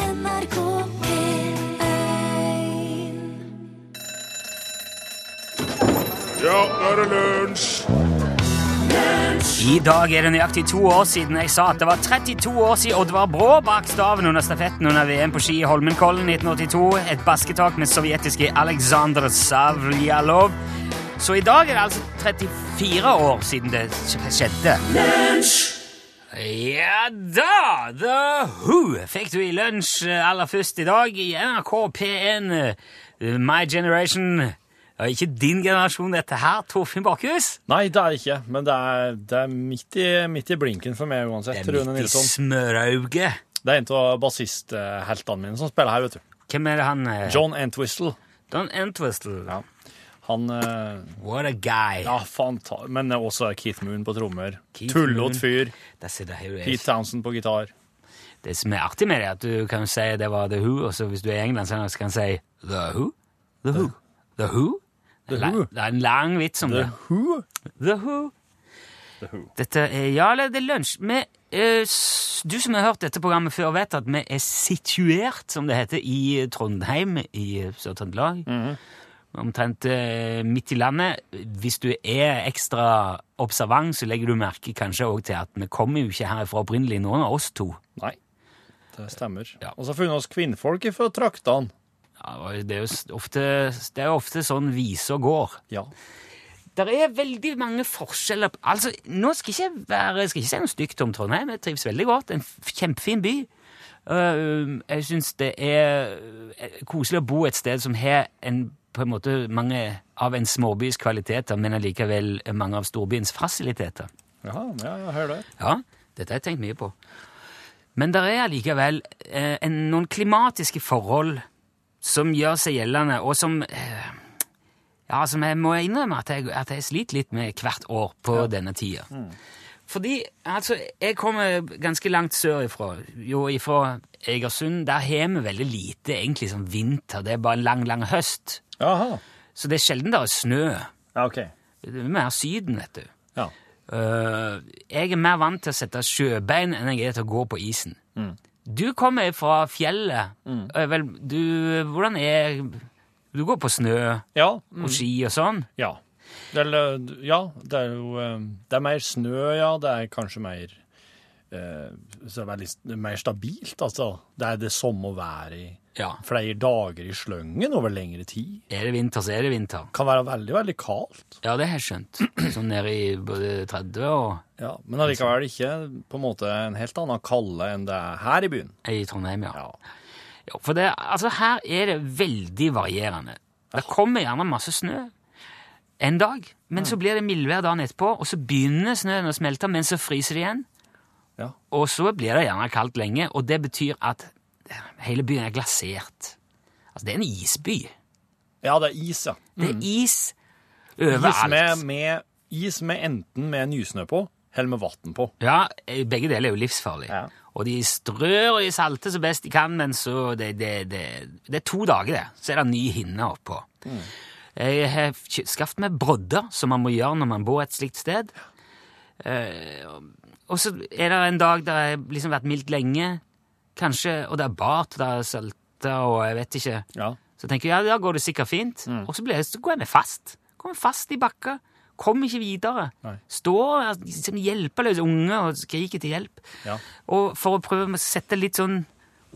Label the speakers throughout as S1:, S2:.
S1: NRK P1
S2: Ja, nå er det lunsj!
S3: I dag er det nøyaktig to år siden jeg sa at det var 32 år siden Oddvar Brå bak staven under stafetten under VM på ski i Holmenkollen 1982. Et basketak med sovjetiske Aleksandr Savljalov. Så i dag er det altså 34 år siden det sk- skjedde. Ja da! The Who fikk du i lunsj eh, aller først i dag i NRK P1 eh, My Generation. Ja, Ikke din generasjon, dette her, Torfinn Bakhus.
S4: Nei, det er det ikke, men det er, det er midt, i, midt i blinken for meg uansett,
S3: Det er
S4: Rune
S3: midt i
S4: Nilsson.
S3: smørauget.
S4: Det er en av bassistheltene mine som spiller her, vet du.
S3: Hvem er det han eh,
S4: John Entwistle.
S3: Don Entwistle.
S4: Ja. Han eh,
S3: What a guy.
S4: Ja, fanta... Men også Keith Moon på trommer.
S3: Keith Moon.
S4: Tullete fyr.
S3: Det, sier- det, er jo-
S4: Pete Townsend på gitar.
S3: det som er artig med det, er at du kan si det var The Who, og så hvis du er i England, så kan du si The Who? The Who? The Who?
S4: The
S3: La-
S4: Who.
S3: Det er en lang vits om
S4: The
S3: det.
S4: Who.
S3: The Who.
S4: The Who.
S3: Dette er Ja, eller det er lunsj. Vi, eh, s- du som har hørt dette programmet før, vet at vi er situert, som det heter, i Trondheim i eh, Sør-Trøndelag.
S4: Mhm.
S3: Omtrent eh, midt i landet. Hvis du er ekstra observant, så legger du merke kanskje òg til at vi kommer jo ikke herfra opprinnelig, noen av oss to.
S4: Nei, det stemmer.
S3: Ja.
S4: Og så har vi funnet oss kvinnfolk fra traktene.
S3: Ja, og det er jo s- ofte, det er jo ofte sånn viser går.
S4: Ja.
S3: Det er veldig mange forskjeller på- Altså, nå skal ikke jeg være, skal ikke si noe stygt om Trondheim. Jeg trives veldig godt. En f- kjempefin by. Uh, jeg syns det er eh, koselig å bo et sted som har en, på en måte mange av en småbys kvaliteter, men allikevel mange av storbyens fasiliteter.
S4: Jaha, ja, ja, hør det.
S3: Ja, dette har jeg tenkt mye på. Men det er allikevel eh, en, noen klimatiske forhold som gjør seg gjeldende, og som eh, Ja, som jeg må innrømme at jeg, at jeg sliter litt med hvert år på denne tida. Fordi, altså, jeg kommer ganske langt sørifra. Jo, ifra Egersund. Der har vi veldig lite egentlig sånn vinter. Det er bare en lang, lang høst.
S4: Jaha.
S3: Så det er sjelden det er snø.
S4: Ja, OK.
S3: Det er mer Syden, vet du.
S4: Ja.
S3: Øh, jeg er mer vant til å sette sjøbein enn jeg er til å gå på isen. Du kommer fra fjellet. Øh, vel, du, hvordan er Du går på snø
S4: Ja.
S3: og ski og sånn?
S4: Ja. Det er, lø- ja, det er jo eh, Det er mer snø, ja. Det er kanskje mer eh, så det er veldig, s- mer stabilt, altså. Det er det samme været i
S3: Ja.
S4: flere dager i sløngen over lengre tid.
S3: Er det vinter, så er det vinter.
S4: Kan være veldig, veldig kaldt.
S3: Ja, det har jeg skjønt. Sånn nede i både 30 og
S4: Ja, Men allikevel ikke på en måte en helt annen kalde enn det er her i byen.
S3: i Trondheim, ja.
S4: Ja.
S3: Jo, For det, altså her er det veldig varierende. Det kommer gjerne masse snø en dag, men så blir det mildvær dagen etterpå, og så begynner snøen å smelte, men så fryser det igjen.
S4: Ja.
S3: Og så blir det gjerne kaldt lenge, og det betyr at hele byen er glasert. Altså, det er en isby.
S4: ja, det er is, ja.
S3: Det er is
S4: Mm. Is
S3: overalt.
S4: med, med, is med enten med nysnø på eller med vann på.
S3: Ja, eh, begge deler er jo livsfarlig.
S4: Ja.
S3: Og de strør og de salter så best de kan, men så det, det, det, det er to dager, det. Så er det ny hinne oppå. Jeg har kj- skaffet meg brodder, som man må gjøre når man bor et slikt sted. Eh, og så er det en dag der jeg liksom vært mildt lenge, kanskje, og det er bart, og det er salta, og jeg vet ikke.
S4: Ja.
S3: Så tenker jeg, ja, da går det sikkert fint.
S4: Mm.
S3: Og så, blir jeg, så går jeg ned fast. Kommer fast i bakka. Kommer ikke videre.
S4: Nei.
S3: Står der liksom hjelpeløse unge og skriker til hjelp.
S4: Ja.
S3: Og for å prøve å sette litt sånn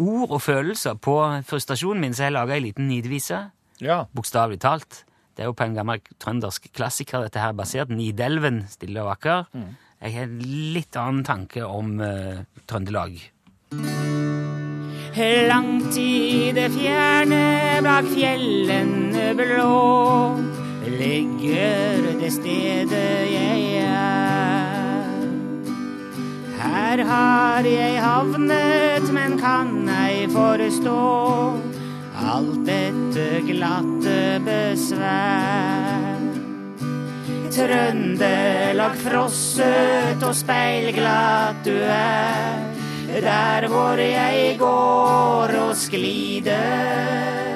S3: ord og følelser på frustrasjonen min, så har jeg laga ei liten nidvise.
S4: ja.
S3: Bokstavelig talt. Det er jo på en gammel trøndersk klassiker, dette her, basert. Nidelven, stille og vakker. Jeg har en litt annen tanke om eh, Trøndelag. Langt i det fjerne, bak fjellene blå, ligger det stedet jeg er. Her har jeg havnet, men kan ei forstå alt dette glatte besvær. Trøndelag frosset og speilglatt du er, der hvor jeg går og sklider.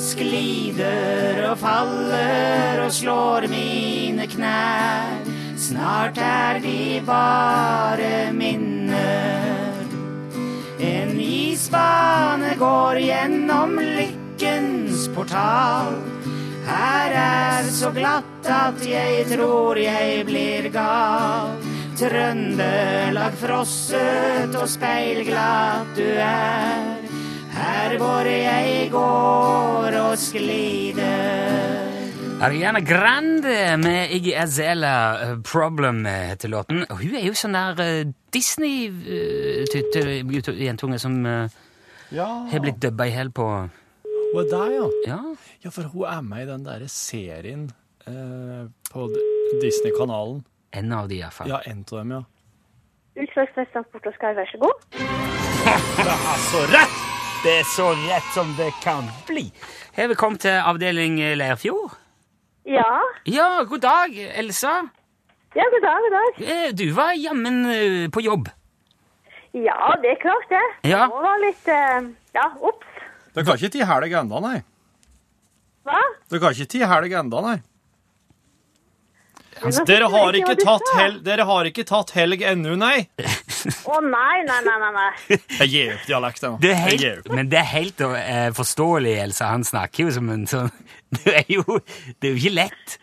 S3: Sklider og faller og slår mine knær. Snart er de bare minner. En isbane Jeg går gjennom lykkens portal. Her er så glatt at jeg tror jeg blir gal. Trøndelag frosset og speilglatt du er. Her hvor jeg går og sklider. Ariana Grande med Iggy Azela, eh, 'Problem' eh, heter låten. Og hun er jo sånn der eh, Disney-jentunge som eh,
S4: Ja,
S3: har blitt dubba i hjel på
S4: hun er der, ja.
S3: Ja,
S4: Ja, for hun er med i den derre serien eh, på D- Disney-kanalen.
S3: en av de iallfall.
S4: Ja, en av dem, ja.
S1: Utslagsnes transport og skai, vær så god.
S3: så rett! Det er så rett som det kan bli. Hei, velkommen til avdeling eh, Leirfjord.
S1: Ja.
S3: Ja, god dag, Elsa.
S1: Ja, god dag, god dag.
S3: Eh, Du var jammen eh, på jobb.
S1: Ja, det er klart det.
S3: Ja.
S1: Det må være litt eh, Ja, ops.
S4: Du kan ikke ti helg enda, nei.
S1: Hva?
S4: Du kan ikke ti helg enda, nei.
S1: Altså,
S4: Dere har ikke tatt helg, dere har ikke tatt helg ennå, nei.
S1: Å nei, nei, nei, nei. nei.
S4: Jeg gir opp dialekten.
S3: Det er
S4: Jeg gir
S3: helt,
S4: opp.
S3: men det er helt eh, forståelig, Elsa. Han snakker jo som en sånn Det er jo, det er jo ikke lett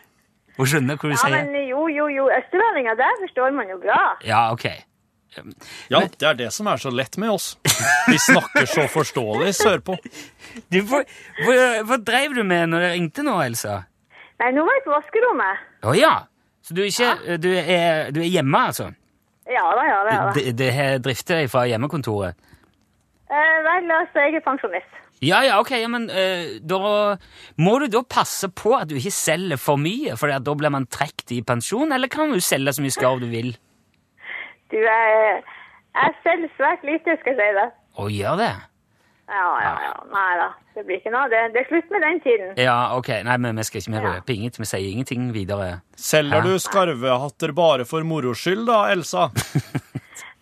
S3: å skjønne hva du
S1: Ja,
S3: sier.
S1: men jo, jo, jo. Østlendinger, det forstår man jo bra.
S3: Ja, ok.
S4: Ja, det er det som er så lett med oss. Vi snakker så forståelig sørpå.
S3: Du, hva, hva, hva dreiv du med når jeg ringte nå, Elsa?
S1: Nei, nå var jeg på vaskerommet.
S3: Å ja! Så du er, ikke, du er, du er hjemme, altså?
S1: Ja da, ja da. ja da.
S3: Det det her drifter deg fra hjemmekontoret?
S1: Eh, vel, altså, jeg er pensjonist.
S3: Ja, ja, ok, ja, men eh, da må du da passe på at du ikke selger for mye, for da blir man trukket i pensjon, eller kan du selge så mye skarv du vil?
S1: Du er Jeg selger svært lite, skal jeg si det.
S3: Å, gjør det?
S1: Ja, ja, ja. Nei da. Det blir ikke noe. Det, det er slutt med den
S4: Eh.
S1: tiden.
S3: Ja, ok. Nei, men vi skal ikke mer
S1: Ja.
S3: røpe ingenting. Vi sier ingenting videre.
S4: Selger du skarvehatter bare for moro skyld, da, Elsa?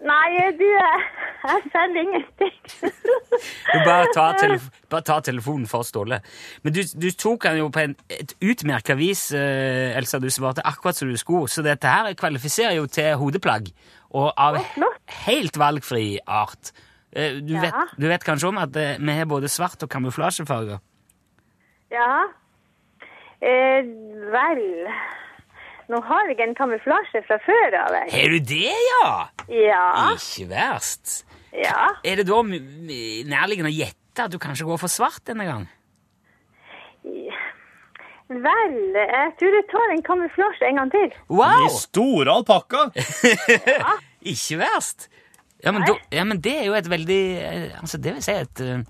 S1: Nei, du eh, Jeg selger ingenting.
S3: Du bare ta, telef bare ta telefonen for Ståle. Men du, du tok han jo på en, et utmerket vis, eh, Elsa. Du svarte akkurat som du skulle. Så dette her kvalifiserer jo til hodeplagg. Og av
S1: flott.
S3: helt valgfri art. Eh, Du
S1: Ja.
S3: vet, du vet kanskje om at eh, vi har både svart og kamuflasjefarger?
S1: Ja. Eh, vel Nå har jeg en kamuflasje fra før av. Jeg.
S3: Har du det, ja?
S1: Ja.
S3: Ikke verst.
S1: ja.
S3: Er det da m- m- nærliggende å gjette at du kanskje går for svart denne gang?
S1: Vel, jeg tror jeg tar en kamuflasje en gang til.
S3: Wow!
S4: I store alpakka?
S3: Ikke verst! Ja men, da, ja, men det er jo et veldig eh, altså Det vil si et, eh,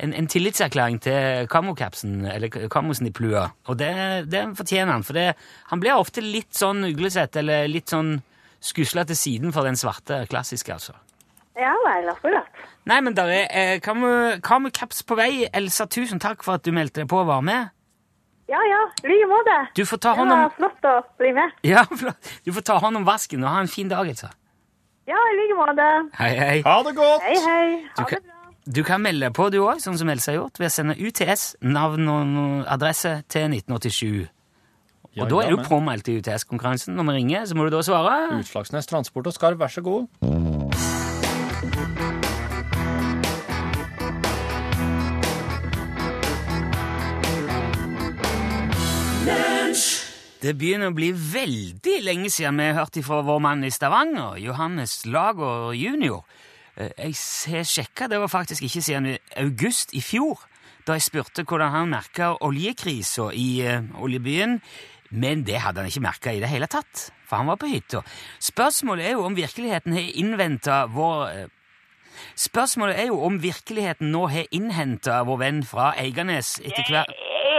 S3: en, en tillitserklæring til kamokapsen, eller k- kamosen i plua. Og det, det fortjener han, for det, han blir ofte litt sånn uglesett, eller litt sånn skusla til siden for den svarte klassiske, altså.
S1: Ja vel, akkurat.
S3: Nei, men der er eh, kamu- kamokaps på vei. Elsa, tusen takk for at du meldte deg på og var med.
S1: Ja ja, i like måte.
S3: Du får ta
S1: Det
S3: hånd om
S1: var flott å bli med.
S3: ja, flott. Du får ta hånd om vasken og ha en fin dag, Elsa.
S1: Ja, i like måte.
S3: Hei, hei.
S4: Ha det godt!
S1: Hei, hei. Ha
S3: kan-
S1: det bra.
S3: Du kan melde deg på, du òg, sånn som Elsa har gjort, ved å sende UTS, navn og adresse, til 1987. Og
S4: Ja,
S3: da
S4: ja,
S3: er du
S4: men.
S3: påmeldt i UTS-konkurransen. Når vi ringer, så må du da svare.
S4: Utslagsnes Transport og Skarv, vær så god.
S3: Det begynner å bli veldig lenge siden vi har hørt ifra vår mann i Stavanger, Johannes Lager jr. Eh, Jeg har sjekka, det var faktisk ikke siden i august i fjor, da jeg spurte hvordan han merka oljekrisa i eh, oljebyen. Men det hadde han ikke merka i det hele tatt, for han var på hytta. Spørsmålet er jo om virkeligheten har innventa vår eh, Spørsmålet er jo om virkeligheten nå har innhenta vår venn fra Eiganes etter hver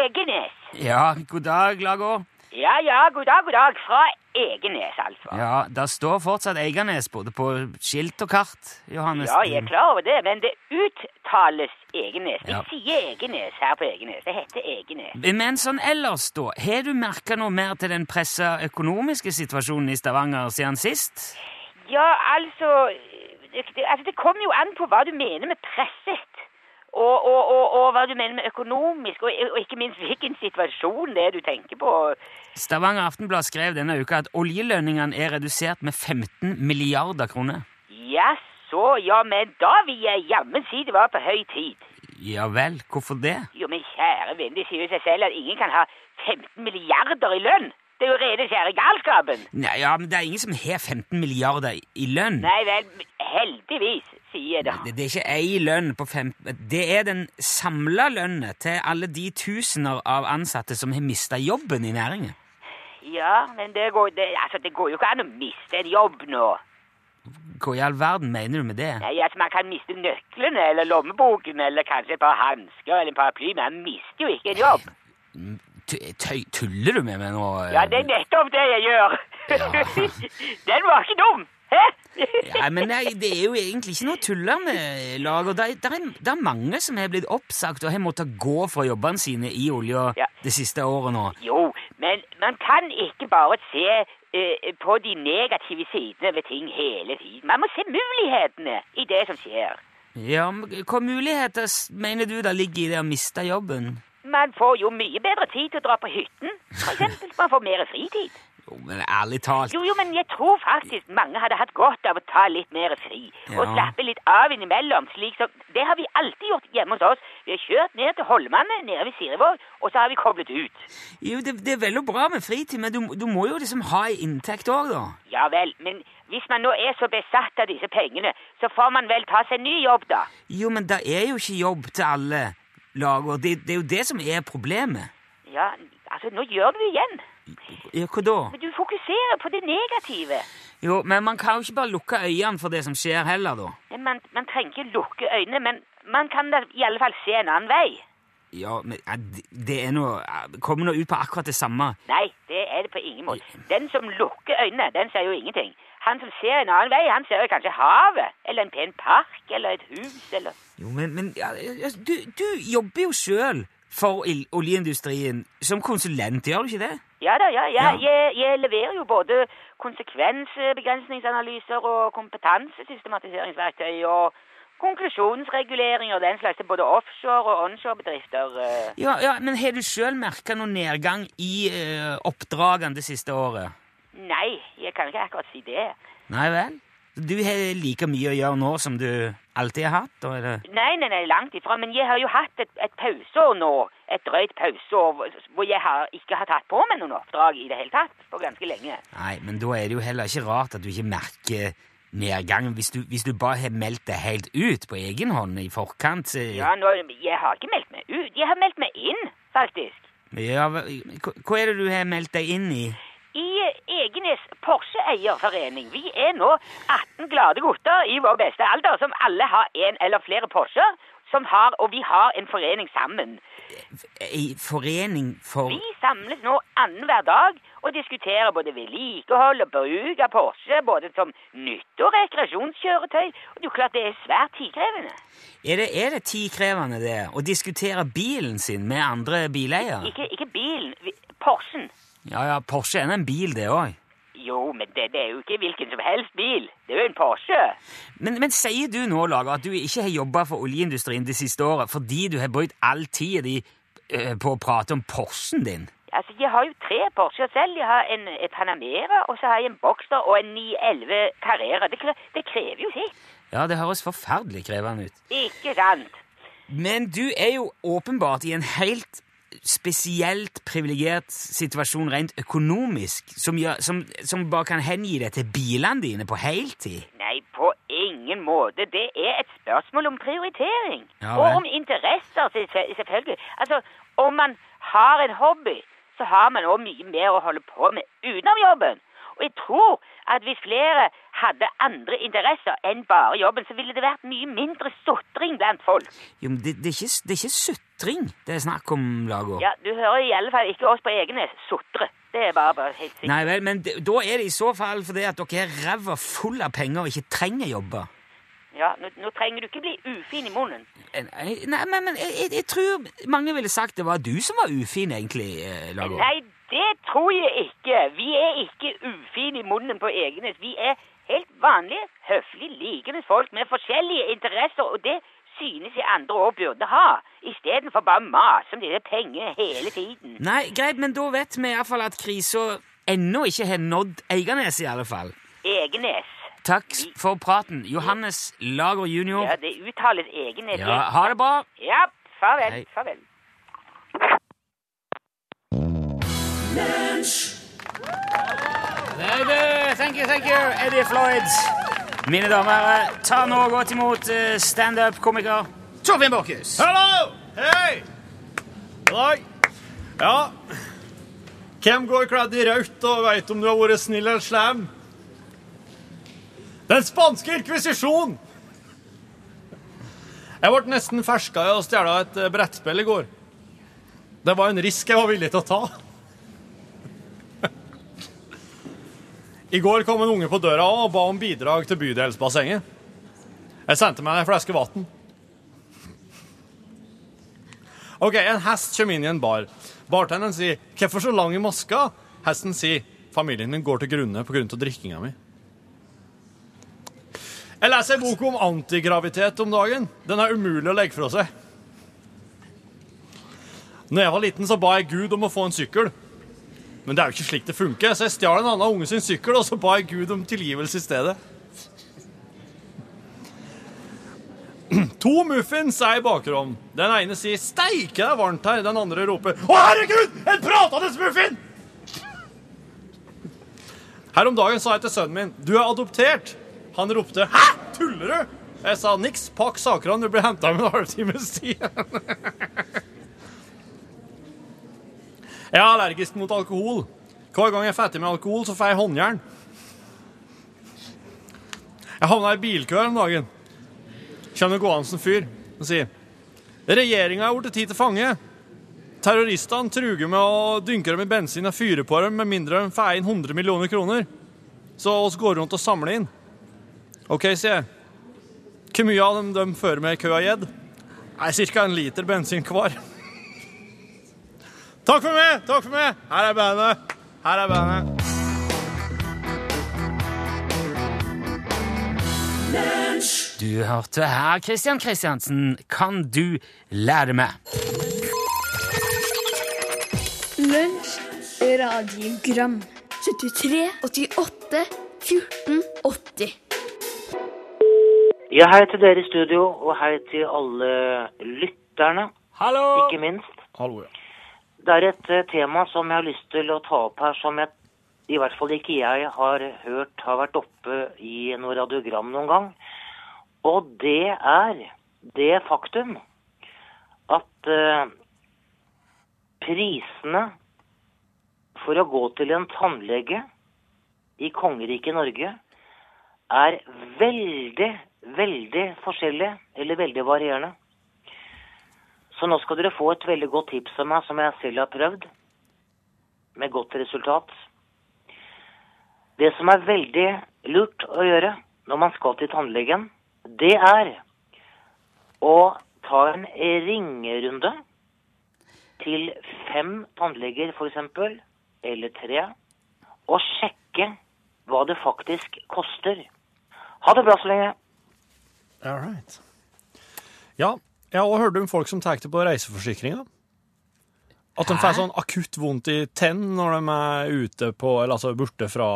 S5: Egenes.
S3: Ja, god dag, Lager.
S5: Ja, ja, god dag, god dag. Fra Egenes, altså.
S3: Ja, der står fortsatt Eiganes både på skilt og kart, Johannes.
S5: Ja, jeg er klar over det, men det uttales Egenes. Vi
S3: Ja.
S5: sier Egenes her på Egenes. Det heter Egenes.
S3: Men sånn ellers, da, har du merka noe mer til den pressa økonomiske situasjonen i Stavanger siden sist?
S5: Ja, altså det, det, altså, det kommer jo an på hva du mener med presset. Og, og, og, og hva du mener med økonomisk, og, og ikke minst hvilken situasjon det er du tenker på.
S3: Stavanger Aftenblad skrev denne uka at oljelønningene er redusert med 15 milliarder kroner.
S5: Jaså, ja, men da vil jeg jammen si det var på høy tid.
S3: Ja vel, hvorfor det?
S5: Jo, men kjære venn, det sier jo seg selv at ingen kan ha 15 milliarder i lønn. Det er jo rene kjære galskapen.
S3: Nei, ja, men det er ingen som har 15 milliarder i lønn.
S5: Nei vel, heldigvis, sier jeg da.
S3: Det, det er ikke ei lønn på fem... Det er den samla lønna til alle de tusener av ansatte som har mista jobben i næringen.
S5: Ja, men det går, det, altså, det går jo ikke an å miste en jobb nå.
S3: Hva i all verden mener du med det?
S5: Nei, altså, Man kan miste nøklene eller lommeboken eller kanskje et par hansker eller en paraply, men man mister jo ikke en jobb.
S3: Tu- Tøy, tuller du med meg nå?
S5: Ja, det er nettopp det jeg gjør. Den var ikke dum! Hæ?
S3: Ja, men nei, det er jo egentlig ikke noe å tulle med, Lager. Det, er- det, er, det er mange som har blitt oppsagt og har måttet gå fra jobbene sine i olja
S5: Ja.
S3: det siste året nå.
S5: Jo, men man kan ikke bare se eh, på de negative sidene ved ting hele tiden. Man må se mulighetene i det som skjer.
S3: Ja, men Hva muligheter s- mener du da ligger i det å miste jobben?
S5: Man får jo mye bedre tid til å dra på hytten, for eksempel. Man får mer fritid.
S3: Jo, men ærlig talt
S5: Jo, jo, men jeg tror faktisk mange hadde hatt godt av å ta litt mer fri. Og
S3: Ja.
S5: slappe litt av innimellom, slik som Det har vi alltid gjort hjemme hos oss. Vi har kjørt ned til Holmane, nede ved Sirevåg, og så har vi koblet ut.
S3: Jo, det, det er vel og bra med fritid, men du, du må jo liksom ha ei inntekt òg, da.
S5: Ja vel, men hvis man nå er så besatt av disse pengene, så får man vel ta seg en ny jobb, da.
S3: Jo, men det er jo ikke jobb til alle, Lager. Det, det er jo det som er problemet.
S5: Ja, altså, nå gjør du det igjen.
S3: Ja, hva da?
S5: Men du fokuserer på det negative.
S3: Jo, men man kan jo ikke bare lukke øynene for det som skjer heller, da.
S5: Men Man, man trenger ikke lukke øynene, men man kan da i alle fall se en annen vei.
S3: Ja, men eh, det- det er noe eh, Kommer nå ut på akkurat det samme.
S5: Nei, det er det på ingen måte. Den som lukker øynene, den ser jo ingenting. Han som ser en annen vei, han ser jo kanskje havet, eller en pen park, eller et hus, eller
S3: Jo, men, men ja, ja, du, du jobber jo sjøl for il- oljeindustrien som konsulent, gjør du ikke det?
S5: Ja da, ja, ja.
S3: Ja.
S5: Jeg, jeg leverer jo både konsekvensbegrensningsanalyser og kompetansesystematiseringsverktøy og konklusjonsregulering og den slags til både offshore og onshore-bedrifter. eh.
S3: Ja, ja Men har du sjøl merka noen nedgang i eh, oppdragene det siste året?
S5: Nei, jeg kan ikke akkurat si det.
S3: Nei vel? Du har like mye å gjøre nå som du alltid har hatt? da, Eller?
S5: Nei, nei, nei, langt ifra. Men jeg har jo hatt et, et pauseår nå. Et drøyt pauseår hvor- hvor jeg har ikke har tatt på meg noen oppdrag i det hele tatt på ganske lenge.
S3: Nei, men da er det jo heller ikke rart at du ikke merker nedgangen hvis du, hvis du bare har meldt det helt ut på egen hånd i forkant. eh,
S5: Ja, nå, Jeg har ikke meldt meg ut. Jeg har meldt meg inn, faktisk.
S3: Ja, hva hva- hva er det du har meldt deg inn i?
S5: I Egenes Porsche-eierforening. Vi er nå 18 glade gutter i vår beste alder, som alle har en eller flere Porscher. Som har, og vi har en forening sammen.
S3: Ei forening for
S5: Vi samles nå annenhver dag og diskuterer både vedlikehold og bruk av Porsche, både som nytt- og rekreasjonskjøretøy. Og det er jo klart det er svært tidkrevende.
S3: Er det, er det tidkrevende, det? Å diskutere bilen sin med andre bileiere?
S5: Ikke, ikke bilen, vi- Porschen.
S3: Ja ja, Porsche er nå en bil, det òg.
S5: Jo, men det, det er jo ikke hvilken som helst bil. Det er jo en Porsche.
S3: Men, men sier du nå, Lager, at du ikke har jobba for oljeindustrien det siste året fordi du har brukt all tida di eh, på å prate om Porschen din?
S5: Altså, jeg har jo tre Porscher selv. Jeg har en eh, Panamera, og så har jeg en Boxster og en 911 Carrera. Det, kre- det krever jo sitt.
S3: Ja, det høres forferdelig krevende ut.
S5: Ikke sant?
S3: Men du er jo åpenbart i en helt spesielt privilegert situasjon rent økonomisk, som, gjør, som, som bare kan hengi deg til bilene dine på heltid.
S5: Nei, på ingen måte. Det er et spørsmål om prioritering.
S3: Ja,
S5: og
S3: vel.
S5: om interesser, selvfø- selvfølgelig. Altså, om man har en hobby, så har man også mye mer å holde på med utenom jobben. Og jeg tror at hvis flere hadde andre interesser enn bare jobben, så ville det vært mye mindre sutring blant folk.
S3: Jo, men det, det, er ikke, det er ikke sutring det er snakk om, Lago.
S5: Ja, du hører i alle fall ikke oss på Egenes sutre. Det er bare, bare helt sikkert.
S3: Nei vel, men det- da er det i så fall fordi at dere er ræva full av penger og ikke trenger jobber.
S5: Ja, nå, nå trenger du ikke bli ufin i munnen.
S3: Nei, nei, men, men jeg, jeg- jeg tror mange ville sagt det var du som var ufin, egentlig, eh, Lago.
S5: Nei, det tror jeg ikke. Vi er ikke ufine i munnen på Egenes. Vi er helt vanlige, høflig likende folk med forskjellige interesser, og det synes jeg andre òg burde ha. Istedenfor bare å mase om disse pengene hele tiden.
S3: Nei, greit, men da vet vi iallfall at krisa ennå ikke har nådd Eiganes, i alle fall.
S5: Egenes.
S3: Takk for praten. Johannes Lager jr.
S5: Ja, det uttales egenheten.
S3: Ja, ha det bra!
S5: ja farvel.
S3: Hei.
S5: Farvel.
S3: Very good. Thank you, thank you, Eddie Floyd. Mine damer og herrer, ta nå godt imot eh, standup-komiker Torfinn Borchhus.
S6: Hallo! Hei! God dag. Ja. Hvem går kledd i rødt og veit om du har vært snill eller slem? Den spanske inkvisisjon! Jeg ble nesten ferska i å stjele et eh, brettspill i går. Det var en risk jeg var villig til å ta. I går kom en unge på døra og ba om bidrag til bydelsbassenget. Jeg sendte meg ei flaske vann. Ok, en hest kommer inn i en bar. Bartenderen sier 'Hvorfor så lang i maska?' Hesten sier 'Familien din går til grunne pga. drikkinga mi'. Jeg leser en bok om antigravitet om dagen. Den er umulig å legge fra seg. Når jeg var liten, så ba jeg Gud om å få en sykkel. Men det er jo ikke slik det funker, så jeg stjal en annen unge sin sykkel, og så ba jeg Gud om tilgivelse i stedet. To muffins er i bakrom. Den ene sier 'steike, det er varmt her'. Den andre roper 'Å, herregud, en pratende muffin'! Her om dagen sa jeg til sønnen min 'du er adoptert'. Han ropte 'hæ, tuller du?' Jeg sa 'niks, pakk sakene, du blir henta om en halvtimes tid'. Jeg er allergisk mot alkohol. Hver gang jeg fetter med alkohol, så får jeg håndjern. Jeg havna i bilkø her om dagen kommer det gående en fyr og sier Regjeringa er blitt tid til fange. Terroristene truger med å dynke dem i bensin og fyre på dem med mindre de får inn 100 millioner kroner. Så oss går rundt og samler inn. OK, sier jeg. Hvor mye av dem de fører med i køa gjedd? Nei, ca. en liter bensin hver. Takk for meg! Takk for meg! Her er bandet. Her er bandet.
S3: Du hørte her, Christian Christiansen. Kan du lære meg?
S7: Lunsj, radiogram 73, 88, 14, 80
S8: Ja, hei til dere i studio, og hei til alle lytterne,
S3: Hallo!
S8: ikke minst.
S6: Hallo, ja.
S8: Det er et eh, tema som jeg har lyst til å ta opp her, som jeg, i hvert fall ikke jeg har hørt har vært oppe i noe radiogram noen gang. Og det er det faktum at eh, prisene for å gå til en tannlege i kongeriket Norge er veldig, veldig forskjellige, eller veldig varierende. Så nå skal dere få et veldig godt tips av meg som jeg selv har prøvd, med godt resultat. Det som er veldig lurt å gjøre når man skal til tannlegen, det er å ta en ringerunde til fem tannleger f.eks., eller tre, og sjekke hva det faktisk koster. Ha det bra så lenge.
S6: All right. Ja, jeg har også hørt om folk som tar det på reiseforsikringa. At de
S3: Hæ?
S6: får sånn akutt vondt i tenn når de er ute på, eller altså borte fra,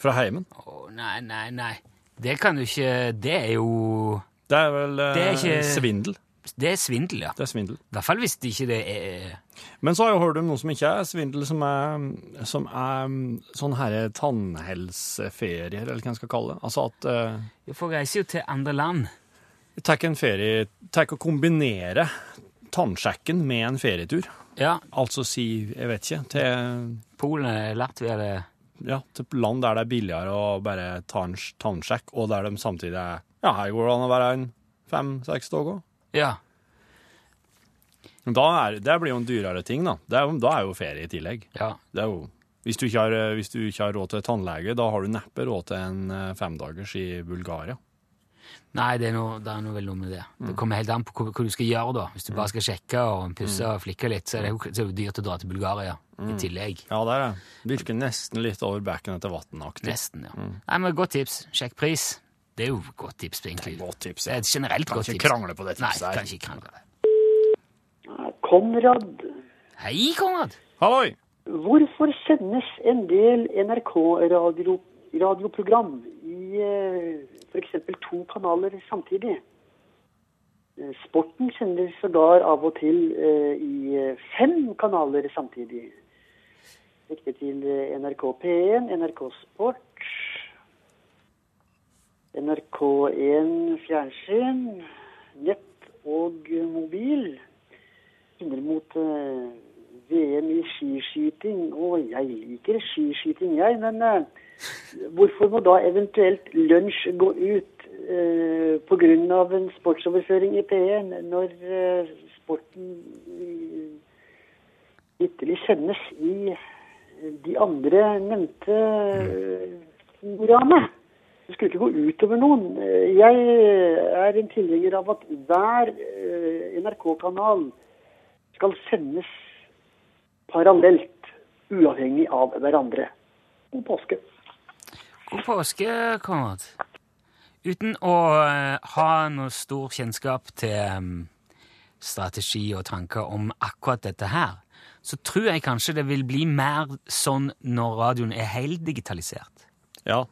S6: fra heimen.
S3: Å, nei, nei, nei. Det kan du ikke Det er jo
S6: Det er vel eh,
S3: Det er ikke-
S6: svindel.
S3: Det er svindel, ja.
S6: Det er svindel.
S3: I hvert fall hvis det ikke det er
S6: Men så har jeg hørt om noe som ikke er svindel, som er, som er mm, sånn herre tannhelseferier, eller hva en skal kalle det. Altså at eh,
S3: For reiser jo til andre land.
S6: du tar en ferie, tar og kombinerer tannsjekken med en ferietur.
S3: Ja.
S6: Altså si, jeg vet ikke, til
S3: Polen, Latvia det
S6: ja, til land der det er billigere å bare ta en sj- tannsjekk, og der de samtidig er Ja, her går det an å være en fem-seks dager.
S3: Ja.
S6: Men Da er, det blir jo en dyrere ting, da. Det er, jo- da er jo ferie i tillegg.
S3: ja.
S6: Det er jo, hvis, du ikke har, eh, hvis du ikke har råd til tannlege, da har du neppe råd til en eh, femdagers i Bulgaria.
S3: Nei, det er noe, det er noe vel noe med det. Det kommer helt an på hva, hva du skal gjøre, da. Hvis du bare skal sjekke og pusse og flikke litt, så er det jo, så er det jo dyrt å dra til Bulgaria i tillegg.
S6: Ja, det er det. Virker nesten litt over bekken etter vannaktig.
S3: Nesten, ja.
S6: Mm.
S3: Nei, men godt tips. Sjekk pris. Det er jo et godt tips, egentlig.
S6: Det er et godt tips, ja.
S3: Det er et generelt
S6: Kan
S3: godt
S6: ikke
S3: tips.
S6: krangle på det tipset
S3: Nei,
S6: her.
S3: kan ikke krangle.
S9: Konrad,
S3: Hei, Konrad!
S6: Halloi!
S9: hvorfor sendes en del NRK-radioprogram i f.eks. to kanaler samtidig. Eh, Sporten sender sågar av og til eh, i eh, fem kanaler samtidig. Riktig til eh, NRK P1, NRK Sport, NRK1 Fjernsyn, nett og eh, mobil. Hindrer mot eh, VM i skiskyting. Å, jeg liker skiskyting, jeg, men eh, Hvorfor må da eventuelt lunsj gå ut eh, pga. en sportsoverføring i P1 når eh, sporten eh, ytterlig sendes i eh, de andre nevnte eh, programmet? Det skulle ikke gå utover noen. Eh, Jeg eh, er en tilhenger av at hver eh, NRK-kanal skal sendes parallelt, uavhengig av hverandre. God påske.
S3: God påske, Konrad. Uten å eh, ha noe stor kjennskap til em, strategi og tanker om akkurat dette her, så tror jeg kanskje det vil bli mer sånn når radioen er helt digitalisert.
S6: Ja,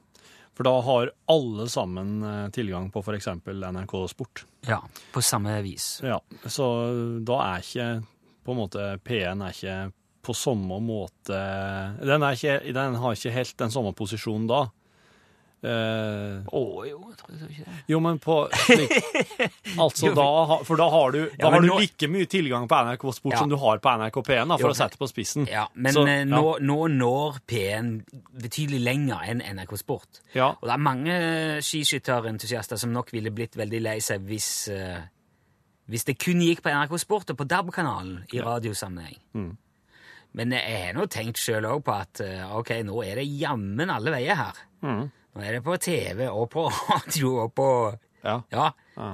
S6: for da har alle sammen eh, tilgang på f.eks. NRK Sport.
S3: Ja, på samme vis.
S6: Ja, Så da er ikke på en måte P1 er ikke på samme måte Den, er ikke, den har ikke helt den samme posisjonen da. Eh,
S3: Å jo, jeg tror ikke det.
S6: jo, men på slik, Altså, da ha- For da har du, da
S3: Ja, men
S6: har du
S3: nå-
S6: like mye tilgang på NRK Sport
S3: Ja.
S6: som du har på NRK P1, da,
S3: Jo,
S6: for å sette på spissen.
S3: Ja, men
S6: Så,
S3: eh,
S6: ja.
S3: nå, nå når P1 betydelig lenger enn NRK Sport.
S6: Ja.
S3: Og det er mange eh, skiskytterentusiaster som nok ville blitt veldig lei seg hvis, eh, hvis det kun gikk på NRK Sport og på DAB-kanalen i radiosammenheng.
S6: Mm.
S3: Men jeg har nå tenkt sjøl òg på at eh, ok, nå er det jammen alle veier her.
S6: Mm.
S3: Nå er det på TV og på radio og på
S6: Ja.
S3: ja,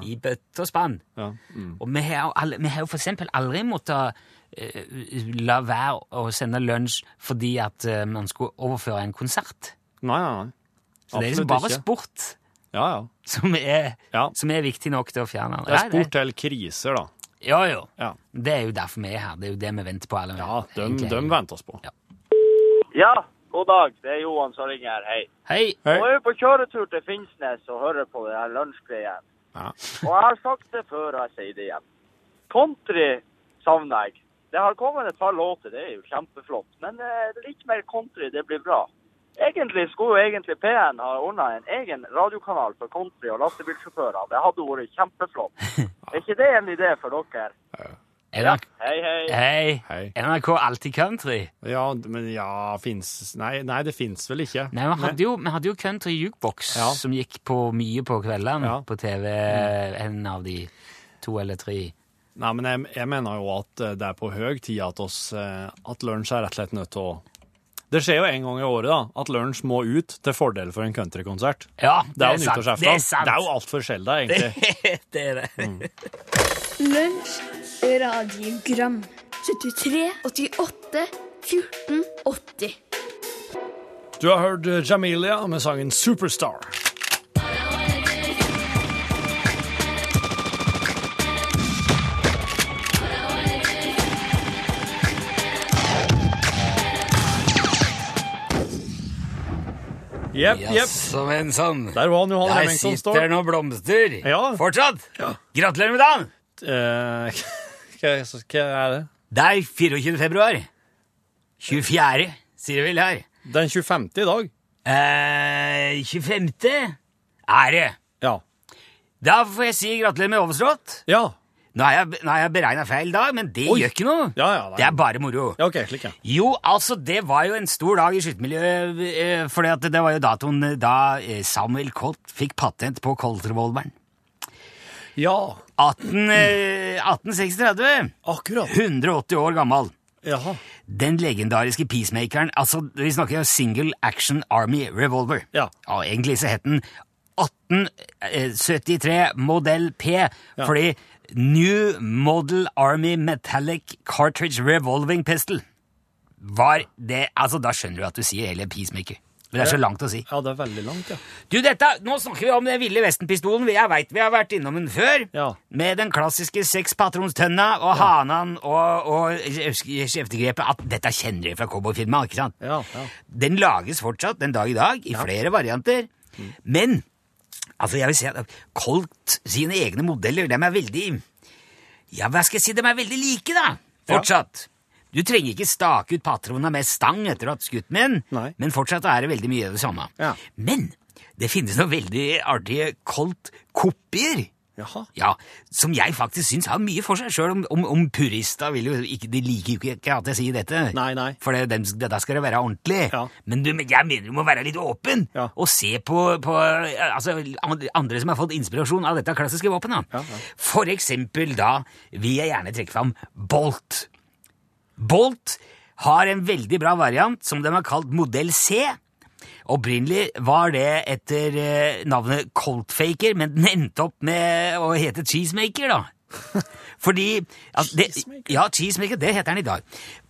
S3: i bøtte og spann.
S6: Ja. mm.
S3: Og vi har, jo all- vi har jo for eksempel aldri måttet eh, la være å sende lunsj fordi at eh, man skulle overføre en konsert.
S6: Nei, nei, nei.
S3: Så det er
S6: Absolutt
S3: liksom bare
S6: ikke.
S3: sport
S6: Ja, ja.
S3: som er,
S6: Ja.
S3: som er viktig nok til å fjerne.
S6: Det er
S3: Nei,
S6: sport til kriser, da.
S3: Ja, jo.
S6: Ja.
S3: Det er jo derfor vi er her. Det er jo det vi venter på. Alle,
S6: Ja, dem,
S3: egentlig.
S6: dem venter oss på.
S10: Ja, god dag. Det er Johan som ringer her. Hei.
S3: Hei!
S6: Hei.
S10: Nå er vi på kjøretur til Finnsnes og hører på det her lunsjgreien.
S6: Ja.
S10: Og jeg har sagt det før, og jeg sier det igjen. Country savner jeg. Det har kommet et par låter, det er jo kjempeflott. Men eh, litt mer country, det blir bra. Egentlig skulle jo egentlig P1 ha ordna en egen radiokanal for country og lastebilsjåfører. Det hadde vært kjempeflott. Er ikke det en idé for dere?
S3: NRK,
S10: Hei, hei.
S3: hei.
S6: Hei.
S3: NRK Alltid Country.
S6: Ja, d- men ja, fins Nei, nei det fins vel ikke.
S3: Nei, Vi hadde jo, vi hadde jo Country Jukebox,
S6: Ja.
S3: som gikk på mye på kveldene
S6: Ja. Mm.
S3: på TV. En av de to eller tre.
S6: Nei, men jeg, jeg mener jo at eh, det er på høy tid at oss eh, At lunsj er rett og slett nødt til å Det skjer jo en gang i året, da, at lunsj må ut til fordel for en countrykonsert.
S3: Ja,
S6: Det er jo
S3: sant.
S6: nyttårsaften.
S3: Det er sant.
S6: Det er jo altfor sjelden, egentlig.
S3: det er det.
S6: Mm.
S7: Lunsj radiogram 73 88 14 80
S6: Du har hørt eh, Jamelia med sangen 'Superstar'. Jepp, jepp.
S3: Jaså, men sann.
S6: Der var han Johan
S3: Der
S6: Remington
S3: sitter
S6: Ståhl.
S3: noen blomster.
S6: Ja.
S3: Fortsatt. Gratulerer med dagen.
S6: Eh, Hva hva er det?
S3: Det er 24. februar. 24., sier det vel her.
S6: Den 25. i dag?
S3: Eh, 25. er det.
S6: Ja.
S3: Da får jeg si gratulerer med overstått.
S6: Ja,
S3: Nå har jeg, nå har jeg beregna feil dag, men det
S6: Oi.
S3: gjør ikke noe.
S6: ja, ja, nei.
S3: Det er bare moro.
S6: ja ok, slik ja.
S3: Jo, altså, det var jo en stor dag i skytemiljøet, eh, fordi at det var jo datoen eh, da eh, Samuel Colt fikk patent på Colt-revolveren.
S6: Ja,
S3: 18, eh, 1836,
S6: akkurat.
S3: 180 år gammel.
S6: Jaha.
S3: Den legendariske peacemakeren, altså vi snakker jo Single Action Army Revolver.
S6: Ja.
S3: egentlig så het den 1873 modell P, fordi New Model Army Metallic Cartridge Revolving Pistol var det, altså da skjønner du at du sier hele peacemaker. Men det er så langt å si.
S6: Ja, det er veldig langt, ja.
S3: Du, dette, nå snakker vi om den ville vestenpistolen. Jeg vet vi har vært innom den før.
S6: Ja.
S3: Med den klassiske sekspatronstønna og hanen og, og kjeftegrepet. At dette kjenner de fra cowboyfilmer, ikke sant?
S6: Ja, ja.
S3: Den lages fortsatt den dag i dag i flere varianter.
S4: Mm.
S3: Men altså jeg vil si at Colt sine egne modeller de er veldig Ja, hva skal jeg si? De er veldig like, da. Fortsatt. Du trenger ikke stake ut patroner med stang etter å ha skutt menn,
S4: Nei.
S3: men fortsatt er det veldig mye av det samme.
S4: Ja.
S3: Men det finnes noen veldig artige Colt-kopier.
S4: Jaha.
S3: Ja, Som jeg faktisk syns har mye for seg, sjøl om, om, om purister vil jo ikke, de liker jo ikke at jeg sier dette.
S4: Nei, nei.
S3: For det, dem- dette skal det være ordentlig.
S4: Ja.
S3: Men du, men jeg mener du må være litt åpen
S4: Ja.
S3: og se på, på altså, andre som har fått inspirasjon av dette klassiske våpenet.
S4: Ja, ja.
S3: For eksempel da vil jeg gjerne trekke fram Bolt. Bolt har en veldig bra variant som de har kalt modell C. Opprinnelig var det etter eh, navnet Coltfaker, men den endte opp med å hete Cheesemaker, da. Fordi at det,
S4: Cheesemaker?
S3: Ja, Cheesemaker, det heter den i dag.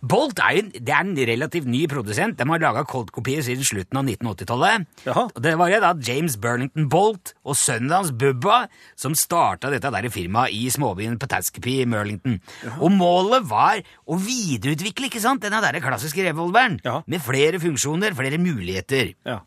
S3: Bolt er, jo en- det er en relativt ny produsent. De har laga Colt-kopier siden slutten av 1980-tallet.
S4: Jaha.
S3: Og Det var jo da James Burnington Bolt og sønnen hans Bubba som starta dette der firmaet i småbyen Pataskepy i Murlington. Og målet var å videreutvikle ikke sant, denne der klassiske revolveren
S4: Ja.
S3: med flere funksjoner, flere muligheter.
S4: Ja.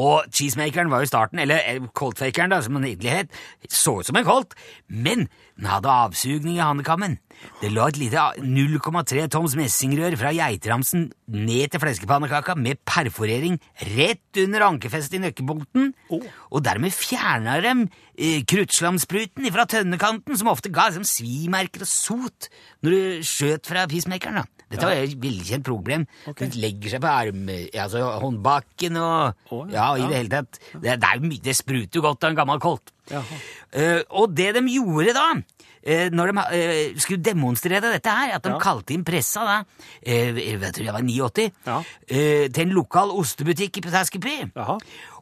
S3: Og cheesemakeren var jo starten, eller eh, coltfakeren, da, som den egentlig het, så ut som en colt, men den hadde avsugning i hanekammen. Det lå et lite ah, a- 0,3 toms messingrør fra geiteramsen ned til fleskepannekaka med perforering rett under ankefestet i nøkkelbunten, og dermed fjerna dem eh, kruttslamspruten fra tønnekanten, som ofte ga liksom, svimerker og sot når du skjøt fra peacemakeren. da. Dette var et veldig kjent problem. Den legger seg på arm, altså håndbakken og
S4: Å,
S3: ja.
S4: ja.
S3: i det hele tatt. Det, det, er jo mye, det spruter jo godt av en gammel kolt.
S4: Jaha.
S3: Eh, og det de gjorde da, eh, når de eh, skulle demonstrere dette her, at de
S4: Ja.
S3: kalte inn pressa da, eh, jeg tror jeg var 89,
S4: Ja.
S3: eh, til en lokal ostebutikk i Petaskepy.
S4: Jaha.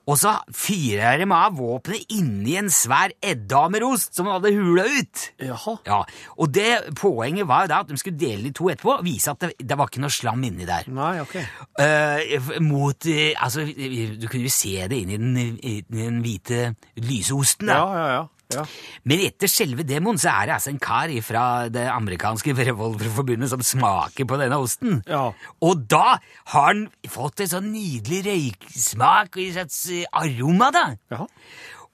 S3: Og så fyrer de av våpenet inni en svær eddamerost som hadde hula ut.
S4: Jaha.
S3: Ja, og det poenget var jo da at de skulle dele den i to etterpå og vise at det, det var ikke noe slam inni der.
S4: Nei, ok.
S3: Eh, f- mot eh, Altså, du kunne jo se det inni den, i den hvite lyseosten.
S4: Ja,
S3: da.
S4: ja, ja. ja.
S3: Men etter selve demoen så er det altså en kar fra det amerikanske revolverforbundet som smaker på denne osten.
S4: Ja.
S3: Og da har han fått en sånn nydelig røyksmak og en slags eh, aroma, da.
S4: Jaha.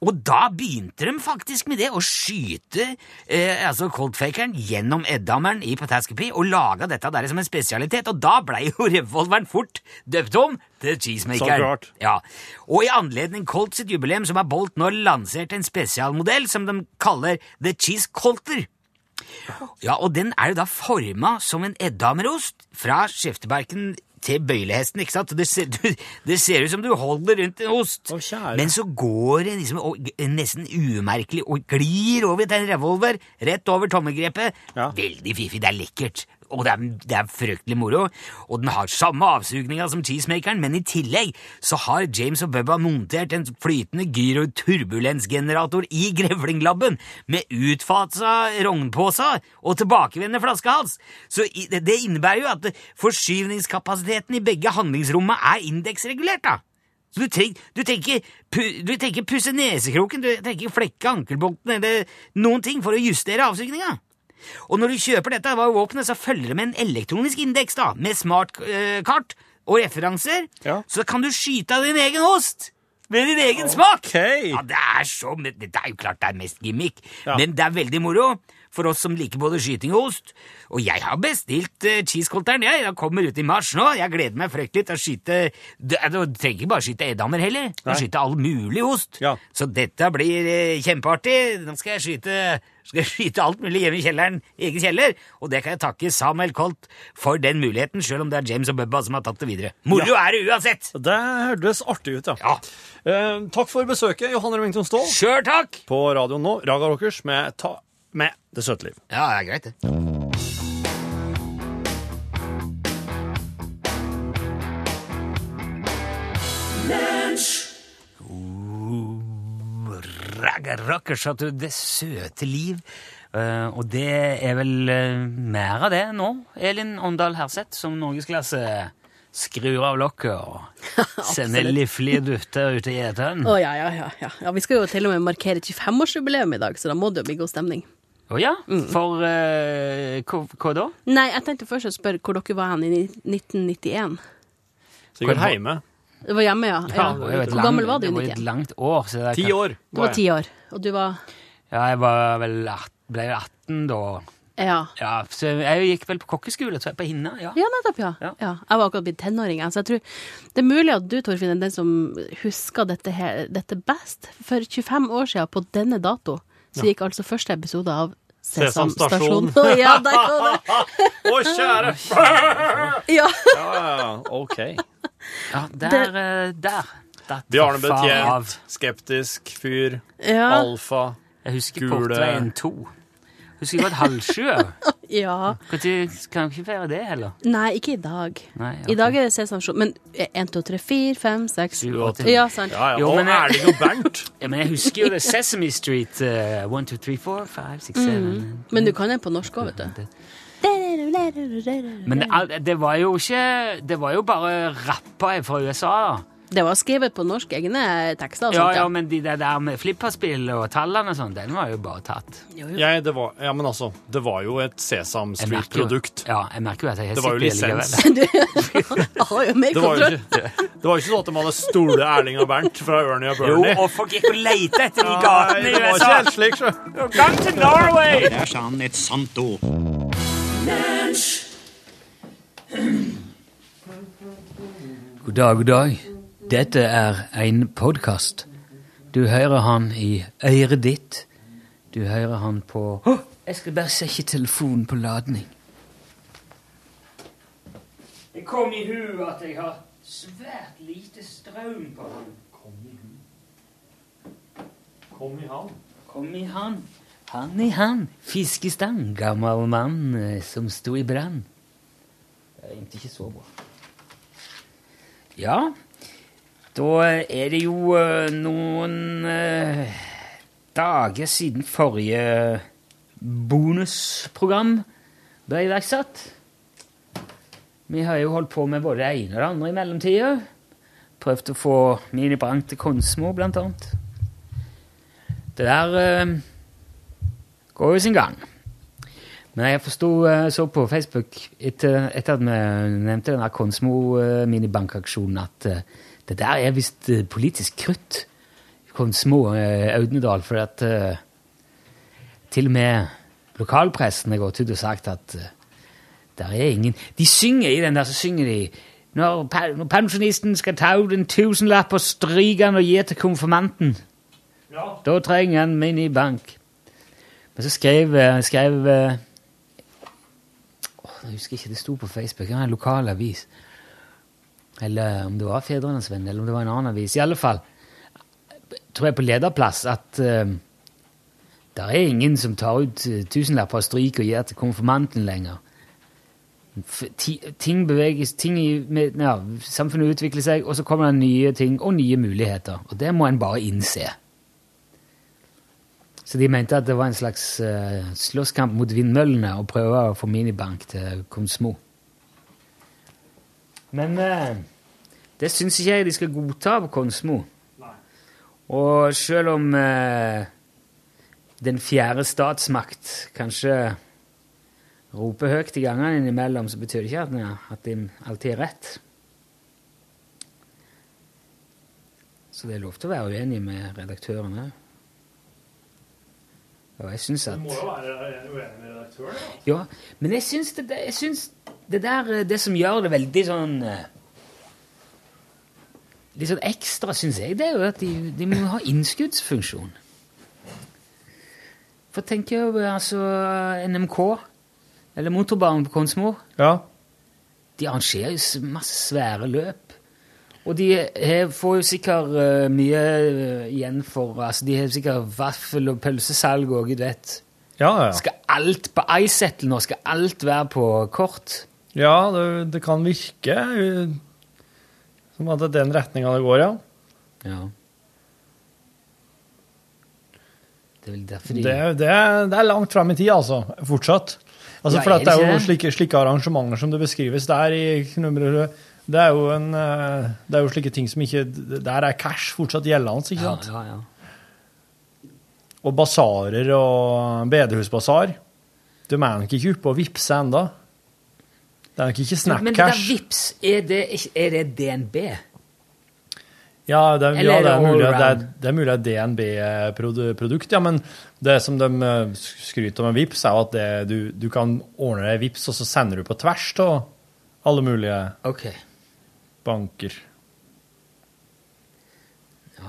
S3: Og da begynte de faktisk med det, å skyte eh, altså coldfakeren gjennom eddammeren i Pataskepy og laga dette der som en spesialitet, og da blei jo revolveren fort døpt om til cheesemaker.
S4: Så klart.
S3: Ja. Og i anledning Colt sitt jubileum så har Bolt nå lansert en spesialmodell som de kaller The Cheese Colter. Ja, og den er jo da forma som en eddamerost fra skjeftebarken til bøylehesten, ikke sant? Det ser, du, det ser ut som du holder rundt en ost,
S4: Å, kjære.
S3: men så går det liksom og, g- nesten umerkelig og glir over til en revolver, rett over tommelgrepet.
S4: Ja.
S3: Veldig fiffig, det er lekkert, og det er, det er fryktelig moro. Og den har samme avsugninga som cheesemakeren, men i tillegg så har James og Bubba montert en flytende gyroturbulensgenerator i grevlinglabben med utfasa rognpåsa og tilbakevendende flaskehals. Så i, det, det innebærer jo at forskyvningskapasiteten i begge handlingsrommene er indeksregulert, da. Så du, treng, du, tenker, pu, du tenker pusse nesekroken, du tenker flekke ankelbunten eller noen ting for å justere avsugninga. Og når du kjøper dette var våpenet, så følger det med en elektronisk indeks da, med smartkart og referanser.
S4: Ja.
S3: Så kan du skyte av din egen ost med din egen smak.
S4: Ok.
S3: Ja, det er så, men det er jo klart det er mest gimmick,
S4: Ja.
S3: men det er veldig moro for oss som liker både skyting og ost. Og jeg har bestilt uh, cheesecolteren, jeg. Den kommer ut i mars nå. Jeg gleder meg fryktelig til å skyte Du, eh, du trenger ikke bare skyte eddamer heller. Du kan
S4: Nei.
S3: skyte all mulig ost.
S4: Ja.
S3: Så dette blir eh, kjempeartig. Nå skal jeg skyte skal jeg skyte alt mulig hjemme i kjelleren, egen kjeller. Og det kan jeg takke Samuel Colt for den muligheten, sjøl om det er James og Bubba som har tatt det videre. Moro er det uansett!
S4: Det hørtes artig ut, ja.
S3: Ja.
S4: Eh, takk for besøket, Johan Remington Ståhl.
S3: Sjøl takk!
S4: På radioen nå, Raga Rockers med, ta, med Det søte liv.
S3: Ja, det er greit, det. Ragga Rockers at du det søte liv. Eh, og det er vel eh, mer av det nå. Elin Åndal Herseth som norgesklasse skrur av lokket og sender liflige dutter ut i eteren.
S11: Å ja, ja, ja, ja. ja. Vi skal jo til og med markere 25-årsjubileum i dag, så da må det jo bli god stemning.
S3: Å ja? For eh, hva, hva da?
S11: Nei, jeg tenkte først å spørre hvor dere var hen i ni- 1991.
S4: Sikkert
S3: Hvor-
S4: hjemme.
S11: Det var hjemme, ja. ja.
S3: Det var jo et
S11: Hvor
S3: lang-
S11: gammel var du,
S3: Det var jo
S11: Nikke?
S3: et langt år. Så det er
S4: Ti
S3: kan-
S4: år.
S11: Du var ti år, og du var
S3: Ja, jeg var vel at- ble vel 18 da.
S11: Ja.
S3: Ja, så jeg gikk vel på kokkeskole, tror jeg, på Hinna. ja.
S11: Ja, nettopp, ja. ja. Jeg var akkurat blitt tenåring, jeg, så jeg tror det er mulig at du, Torfinn, er den som husker dette, her, dette best. For 25 år siden, på denne dato, så
S4: Ja.
S11: gikk altså første episode av
S4: Sesam
S11: Sesam
S4: Stasjon.
S11: Stasjon. ja, der kom det!
S4: Å, kjære
S11: Ja.
S4: Ja, ja, OK.
S3: Ja, der, eh, der. Datt
S4: Bjarne
S3: far av.
S4: Betjent, skeptisk fyr,
S11: Ja.
S4: alfa,
S3: Jeg husker
S4: Gule.
S3: Portveien 2. Husker godt Halvsjø.
S11: ja.
S3: Når kan ikke feire det heller?
S11: Nei, ikke i dag.
S3: Nei,
S11: I dag er det Sesam Stasjon. Men 1, 2, 3, 4, 5, 6
S3: Sju, åtte.
S11: Ja, sant.
S4: Ja, ja.
S3: Jo,
S4: og
S3: men jeg-
S4: Erling og Bernt.
S3: Ja, men jeg husker jo det. Sesame Street. eh, One, two, three, four, five, six, seven
S11: Men du kan den på norsk òg, vet du.
S3: Men det, al- det var jo ikke Det var jo bare rappa fra USA, da.
S11: Det var skrevet på norsk, egne tekster og
S3: Ja,
S11: sånt.
S3: ja, men de det der med flipperspill og tallene og sånn, den var jo bare tatt.
S4: Jeg, det var, ja, men altså, det var jo et Sesam
S3: Jeg merker jo-
S4: Street-produkt.
S3: Ja, jeg merker jo at jeg er
S4: Det var jo
S3: sikker likevel.
S4: lisens.
S11: Du jeg har jo mer
S4: Det var jo
S11: kontroll.
S4: ikke, det var jo ikke sånn at de hadde stole Erling og Bernt fra Ernie og
S3: Jo,
S4: Bernie.
S3: og folk gikk og lette etter de
S4: Nei,
S3: gatene
S4: det
S3: i
S4: var ikke
S3: USA.
S4: helt slik, så.
S3: Come to Norway!
S2: Der sa han et sant ord.
S3: God dag, god dag. Dette er en podkast. Du hører han i øret ditt. Du hører han på Hå! Jeg skal bare sette telefonen på ladning. Det kom i hu at jeg har svært lite strøm på han.
S4: Kom i havn.
S3: Kom i han. Han i han. Fiskestang. Gammel mann eh, som sto i brann. Det er egentlig ikke så bra. Ja, da er det jo eh, noen eh, dager siden forrige bonusprogram ble iverksatt. Vi har jo holdt på med både det ene og det andre i mellomtida. Prøvd å få Mini Brank til Konsmo, blant annet. Det der eh, går jo sin gang. Men jeg forsto, eh, så på Facebook etter, etter at vi nevnte den der Konsmo eh, minibankaksjonen, at eh, det der er visst eh, politisk krutt. Konsmo eh, Audnedal. For at eh, til og med lokalpressen har gått ut og sagt at eh, der er ingen De synger i den der, så synger de når, pe- når pensjonisten skal ta ut en tusenlapp og stryke den og gi til konfirmanten. Da trenger han minibank. Men så skrev, eh, skrev eh, åh, Jeg husker ikke, det sto på Facebook. Det var en lokal avis. Eller om det var Fedrenes Venn, eller om det var en annen avis. I alle fall tror jeg på lederplass at det er ingen som tar ut eh, tusenlapper og stryker og gir til konfirmanten lenger. F- ti- Ting beveges, ting i, med, ja, samfunnet utvikler seg, og så kommer det nye ting og nye muligheter. Og det må en bare innse. Så de mente at det var en slags eh, slåsskamp mot vindmøllene og prøve å få minibank til Konsmo. Men eh, det syns ikke jeg de skal godta på Konsmo. Og selv om eh, den fjerde statsmakt kanskje roper høyt i gangene innimellom, så betyr det ikke at, den- at de alltid er rett. Så det er lov til å være uenig med redaktøren òg. Og jeg syns at
S4: være uenig med redaktøren.
S3: ja, men jeg syns det, der- jeg syns det der eh, Det som gjør det veldig sånn eh, Litt sånn ekstra, syns jeg, det er jo at de, de må ha innskuddsfunksjon. For tenk jo eh, altså NMK, eller motorbanen på Konsmo.
S4: Ja.
S3: De arrangerer jo s- masse svære løp. Og de har- får jo sikkert eh, mye eh, igjen for altså De har sikkert vaffel- og pølsesalg og gud vet.
S4: Ja, ja.
S3: Skal alt på iSettle nå? Skal alt være på kort?
S4: ja det, det kan virke eh, som at det er den retninga det går, ja.
S3: Ja. Det er vel derfor de
S4: Det, er- det, er- det er langt frem i tid, altså. Fortsatt. Altså,
S3: Ja,
S4: for at det
S3: er
S4: er
S3: det
S4: jo
S3: ikke
S4: slike, slike arrangementer som det beskrives der i Knubberud. Det er, jo en, eh, det er jo slike ting som ikke Der er cash fortsatt gjeldende, ikke
S3: ja,
S4: sant?
S3: ja, ja.
S4: Og basarer og bedehusbasar. De er nok ikke oppe og vippse enda. Det er nok ikke
S3: Men det der
S4: Snapcash.
S3: Vips, er det, ikke- er det DNB?
S6: Ja, det, er-
S12: Eller
S6: ja, det, er,
S12: all
S6: mulig, at det, er,
S12: round.
S6: det er mulig at DNB-produkt, ja, men det som de eh, skryter om med VIPS er jo at det, du, du kan ordne deg VIPS, og så sender du på tvers av alle mulige banker.
S3: Ja.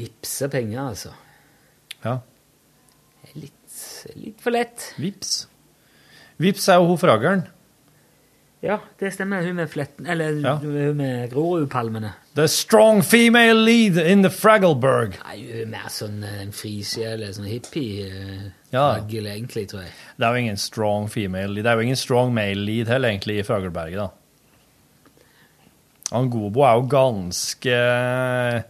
S3: Vipse penger, altså.
S6: Ja.
S3: Det er Litt, litt for lett.
S6: VIPS. VIPS er jo hun fraggeren.
S3: Ja, det stemmer. Hun med fletten Eller
S6: Ja.
S3: hun med Grorudpalmene.
S6: The strong female lead in the Fraggleberg.
S3: Nei, hun er mer sånn eh, en frisjel, en sånn hippie-raggel,
S6: Ja.
S3: egentlig, tror jeg.
S6: Det er jo ingen strong female lead. Det er jo ingen strong male lead heller, egentlig, i Fagerberget, da. Han Gobo er jo ganske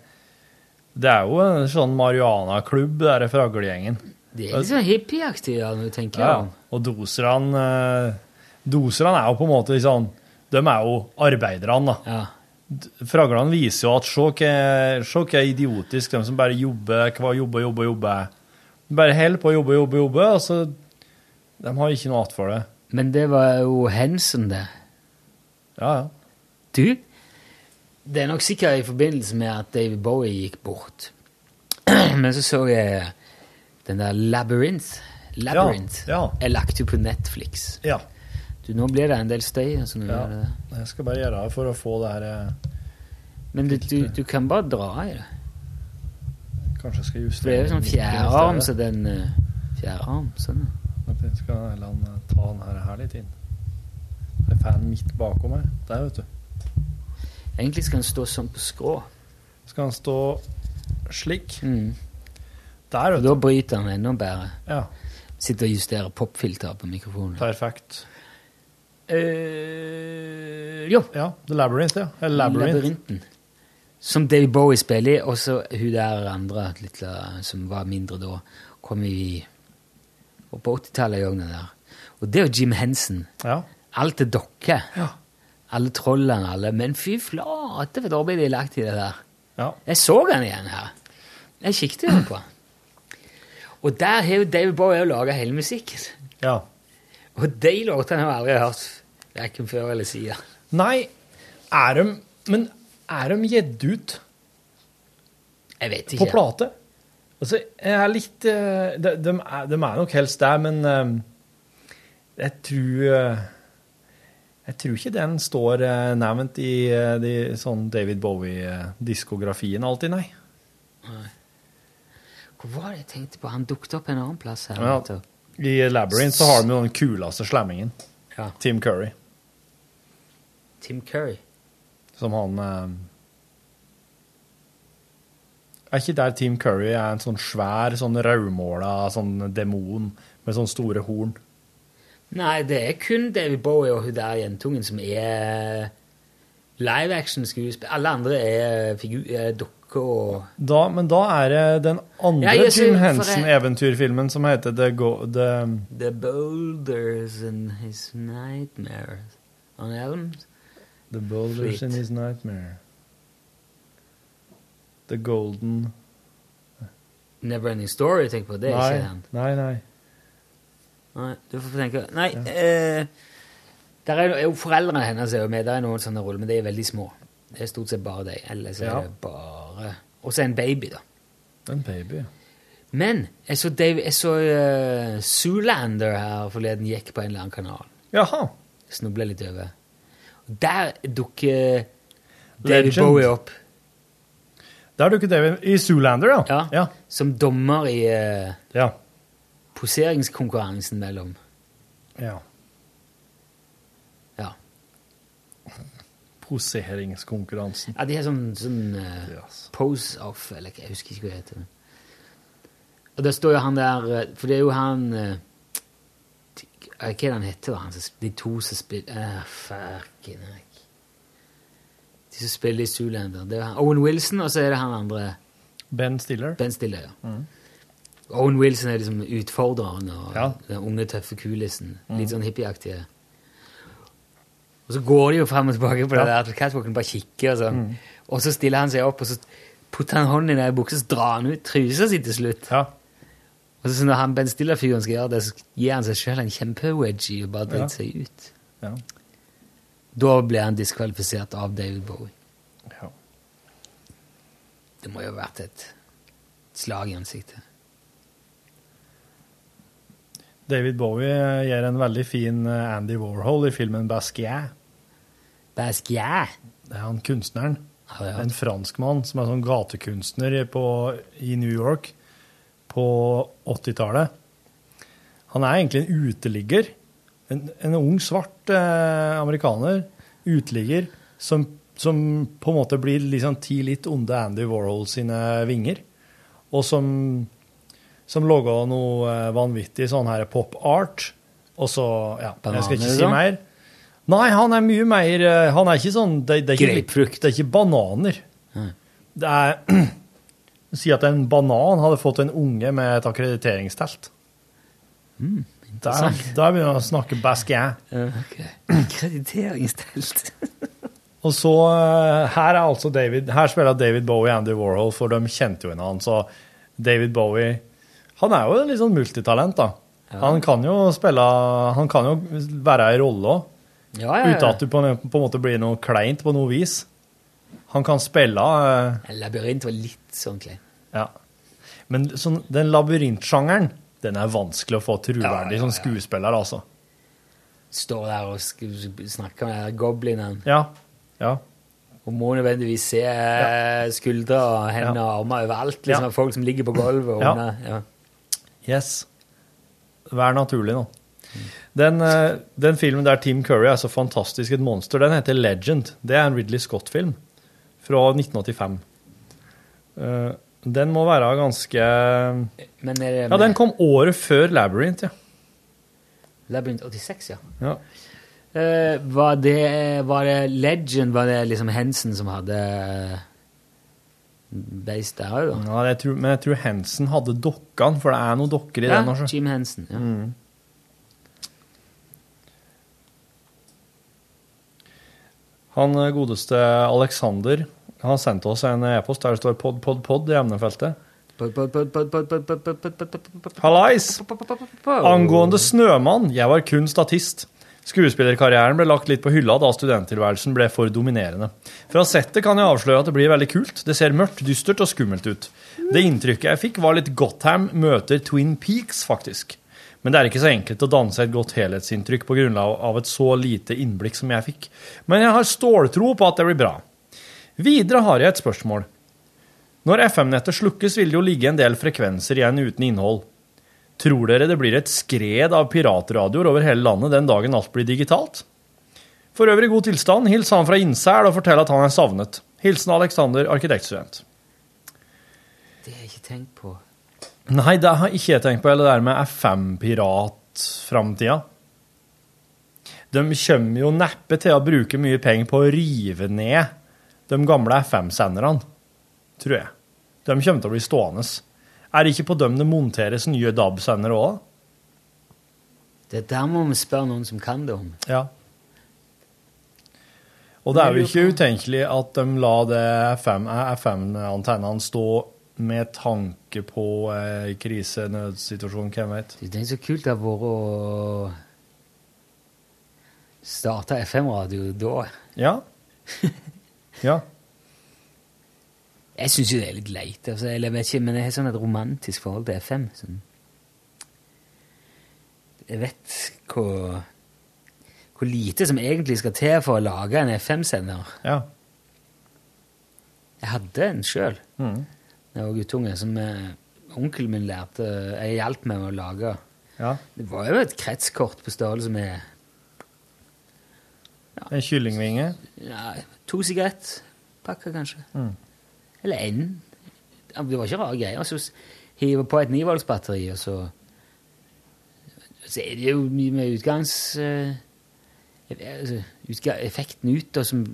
S6: Det er jo en sånn marihuana-klubb, det derre fraglegjengen.
S3: De er litt sånn hippieaktig, ja, når du tenker
S6: Ja,
S3: om
S6: og Doseran eh, Doseran er jo på en måte litt sånn De er jo arbeiderne, da. D- Fraglene viser jo at se hva- se hva idiotisk de som bare jobber, hva jobber, jobber, jobber. De bare holder på å jobbe, jobbe, jobbe, og så De har ikke noe igjen for det.
S3: Men det var jo Hensen, det.
S6: Ja, ja.
S3: Du, det er nok sikkert i forbindelse med at David Bowie gikk bort. Men så så jeg den der Labyrinth. Labyrinth er lagt ut på Netflix.
S6: Ja.
S3: Du, nå blir det en del støy. Altså, når du
S6: Ja.
S3: gjør det.
S6: Jeg skal bare gjøre det for å få det her eh,
S3: Men du, du, du kan bare dra i det.
S6: Kanskje jeg skal
S3: For
S6: justere
S3: det er jo sånn
S6: den
S3: fjerdearm,
S6: litt i
S3: så
S6: stedet.
S3: den eh, Fjerdearm, sånn.
S6: At jeg skal la den eh, ta den her, her litt inn. Det er fan midt bakom her. Der, vet du.
S3: Egentlig skal den stå sånn på skrå.
S6: Skal den stå slik?
S3: Mm.
S6: Der,
S3: Da bryter den enda bedre.
S6: Ja.
S3: Sitter og justerer popfilter på mikrofonen.
S6: Perfekt.
S3: Eh, jo.
S6: Ja, The Labyrinth, ja. Eller Labyrinth.
S3: Labyrinten. Som David Bowie spiller i, og så hun der andre lille, som var mindre da, kom i og på 80-tallet gjorde hun det der. Og det er jo Jim Henson. Alt er dokker. Alle trollene, alle. Men fy flate for et arbeid de har lagt i det der. Jeg så han igjen her. Jeg kikket jo på han. Og der har jo David Bowie laga hele musikken.
S6: Ja.
S3: Og de låtene har jeg aldri hørt verken før eller siden.
S6: Nei, er de Men er de gitt ut
S3: Jeg vet
S6: på
S3: ikke.
S6: plate? Altså, jeg er litt eh, De, de, er, de er nok helst der, men eh, jeg tror eh, Jeg tror ikke den står eh, nevnt i eh, de, sånn David Bowie-diskografien alltid, nei.
S3: Hvor var det jeg tenkte på? Han dukket opp en annen plass her.
S6: Ja.
S3: nettopp.
S6: I Labyrinth så har de jo den kuleste slammingen.
S3: Ja.
S6: Tim Curry.
S3: Tim Curry.
S6: Som han eh, Er ikke der Team Curry er en sånn svær, sånn rødmåla sånn demon med sånne store horn?
S3: Nei, det er kun David Bowie og hun der jentungen som er live action-skuespiller. Alle andre er figu er dukker og
S6: Da, men da er det den andre
S3: Ja, jeg ser-
S6: Jim
S3: for jeg-
S6: Henson-eventyrfilmen som heter The Go... The,
S3: The Boulders and His Nightmares on Elm.
S6: the Boulders
S3: Sweet.
S6: in His Nightmare. The Golden
S3: Neverending Story, tenk på det.
S6: Nei,
S3: ikke den.
S6: nei, nei.
S3: Nei, du får tenke Nei, eh, der er jo foreldrene hennes er jo med. Der er noen sånne roller, men de er veldig små. Det er stort sett bare deg. Ellers
S6: Ja.
S3: er det bare Og så en baby, da.
S6: En baby.
S3: Men jeg så, Dave, jeg så eh, Zoolander her forleden gikk på en eller annen kanal.
S6: Jaha.
S3: Snubla litt over. Og der dukker David
S6: Legend.
S3: Bowie opp.
S6: Der dukker David I Zoolander, ja.
S3: ja, Som dommer i eh, poseringskonkurransen mellom
S6: Ja.
S3: Ja.
S6: Poseringskonkurransen.
S3: Ja, de har sånn, sånn eh, pose-off, eller jeg husker ikke hva det heter. Og der står jo han der eh, For det er jo han eh, t- Hva er det han heter, da? Han, som sp- de to som spiller uh, Fucking heck. De som spiller i Zoolander. Det er han, Owen Wilson, og så er det han andre.
S6: Ben Stiller.
S3: Ben Stiller, ja. Owen Wilson er liksom utfordreren og den unge, tøffe kulisen. Litt sånn hippieaktige. Og så går de jo frem og tilbake på det
S12: Ja.
S3: der at catwalken bare kikker og sånn. Og så stiller han seg opp, og så putter han hånden i den buksa, så drar han ut trusa si til slutt. Og så når han Ben Stiller-figuren skal gjøre det, så gir han seg sjøl en kjempewedgie og bare
S6: Ja.
S3: driter seg ut.
S6: Ja.
S3: Da ble han diskvalifisert av David Bowie. Det må jo ha vært et slag i ansiktet.
S6: David Bowie eh, gjør en veldig fin eh, Andy Warhol i filmen Basquiat.
S3: Basquiat?
S6: Det er han kunstneren.
S3: ja.
S6: En franskmann som er sånn gatekunstner i- på, i New York på 80-tallet. Han er egentlig en uteligger. En, en ung, svart eh, amerikaner. Uteligger som, som på en måte blir liksom ti litt onde Andy Warhol sine vinger. Og som som laga noe eh, vanvittig sånn her pop art. Og så Ja, jeg skal ikke
S3: Bananer,
S6: si
S3: da?
S6: mer. Nei, han er mye mer eh, Han er ikke sånn det, det er ikke, Grapefrukt. Det er ikke bananer.
S3: Nei.
S6: Det er Si at en banan hadde fått en unge med et akkrediteringstelt.
S3: Mm,
S6: Der,
S3: interessant.
S6: der begynner han å snakke Basquiat.
S3: Krediteringstelt.
S6: Og så eh, Her er altså David Her spiller David Bowie og Andy Warhol, for de kjente jo hverandre. Så David Bowie Han er jo en litt sånn multitalent, da. Han kan jo spille Han kan jo være i rolle òg.
S3: Ja, ja, ja.
S6: Uten at du på en, på en måte blir noe kleint på noe vis. Han kan spille eh,
S3: Labyrint var litt sånn klein.
S6: ja. Men sånn, den labyrintsjangeren, den er vanskelig å få troverdig som skuespiller, altså.
S3: Står der og sk- snakker med den der goblinen.
S6: Ja. ja.
S3: Og må nødvendigvis se eh, skuldre og hender og armer overalt. Liksom,
S6: Ja.
S3: av Folk som ligger på gulvet. Og
S6: Ja.
S3: under, ja.
S6: Yes. Vær naturlig nå. Den, eh, den filmen der Tim Curry er så fantastisk et monster, den heter Legend. Det er en Ridley Scott-film fra 1985. Eh, Den må være ganske
S3: Men eh, er det
S6: Ja, den kom året før Labyrinth, ja.
S3: Labyrinth 86, ja.
S6: ja.
S3: Eh, var, det, var det Legend? Var det liksom Hensen som hadde Based der òg, da?
S6: Ja, jeg tror, men jeg tror Hensen hadde dokkene, for det Mm. er noen dokker i
S3: Ja,
S6: den. Også.
S3: Jim Henson. Ja.
S6: Han eh, godeste Alexander han sendte oss en e-post der det står pod, pod, pod i emnefeltet. Hallais! Angående Snømann, jeg var kun statist. Skuespillerkarrieren ble lagt litt på hylla da studenttilværelsen ble for dominerende. Fra settet kan jeg avsløre at det blir veldig kult. Det ser mørkt, dystert og skummelt ut. Det inntrykket jeg fikk, var litt Gotham møter Twin Peaks, faktisk. Men det er ikke så enkelt å danse et godt helhetsinntrykk på grunnlag av et så lite innblikk som jeg fikk. Men jeg har ståltro på at det blir bra. Videre har jeg et spørsmål. Når FM-nettet slukkes, vil det jo ligge en del frekvenser igjen uten innhold. Tror dere det blir et skred av piratradioer over hele landet den dagen alt blir digitalt? For øvrig god tilstand. Hils han fra Innsel og fortell at han er savnet. Hilsen Alexander, arkitektstudent.
S3: Det har jeg ikke tenkt på.
S6: Nei, det har ikke jeg tenkt på, eller det der med FM-piratframtida. De kommer jo neppe til å bruke mye penger på å rive ned de gamle FM-senderne, tror jeg. De kommer til å bli stående. Er det ikke på dem det monteres nye DAB-sendere òg?
S3: Det der må vi spørre noen som kan det om.
S6: Ja. Og det er jo ikke utenkelig at de la det FM FM-antennene stå med tanke på eh, krise, nødsituasjon, hvem vet.
S3: Det er så kult det har vært å starte FM-radio da.
S6: Ja. Ja.
S3: Jeg syns jo det er litt leit. Altså, eller jeg vet ikke, men jeg har sånn et romantisk forhold til FM. Sånn. Jeg vet hvor, hvor lite som egentlig skal til for å lage en FM-sender.
S6: Ja.
S3: Jeg hadde en sjøl
S6: Mhm.
S3: da jeg var guttunge, som eh, onkelen min lærte eh, Jeg hjalp meg med å lage.
S6: Ja.
S3: Det var jo et kretskort på størrelse med
S6: En kyllingvinge.
S3: ja, to sigarettpakker, kanskje.
S6: Mm.
S3: Eller én. Ja, Det var ikke rare greier. Så s- hive på et nivoldsbatteri, og så Så er det jo mye med utgangs... eh, altså, utga effekten ut, og som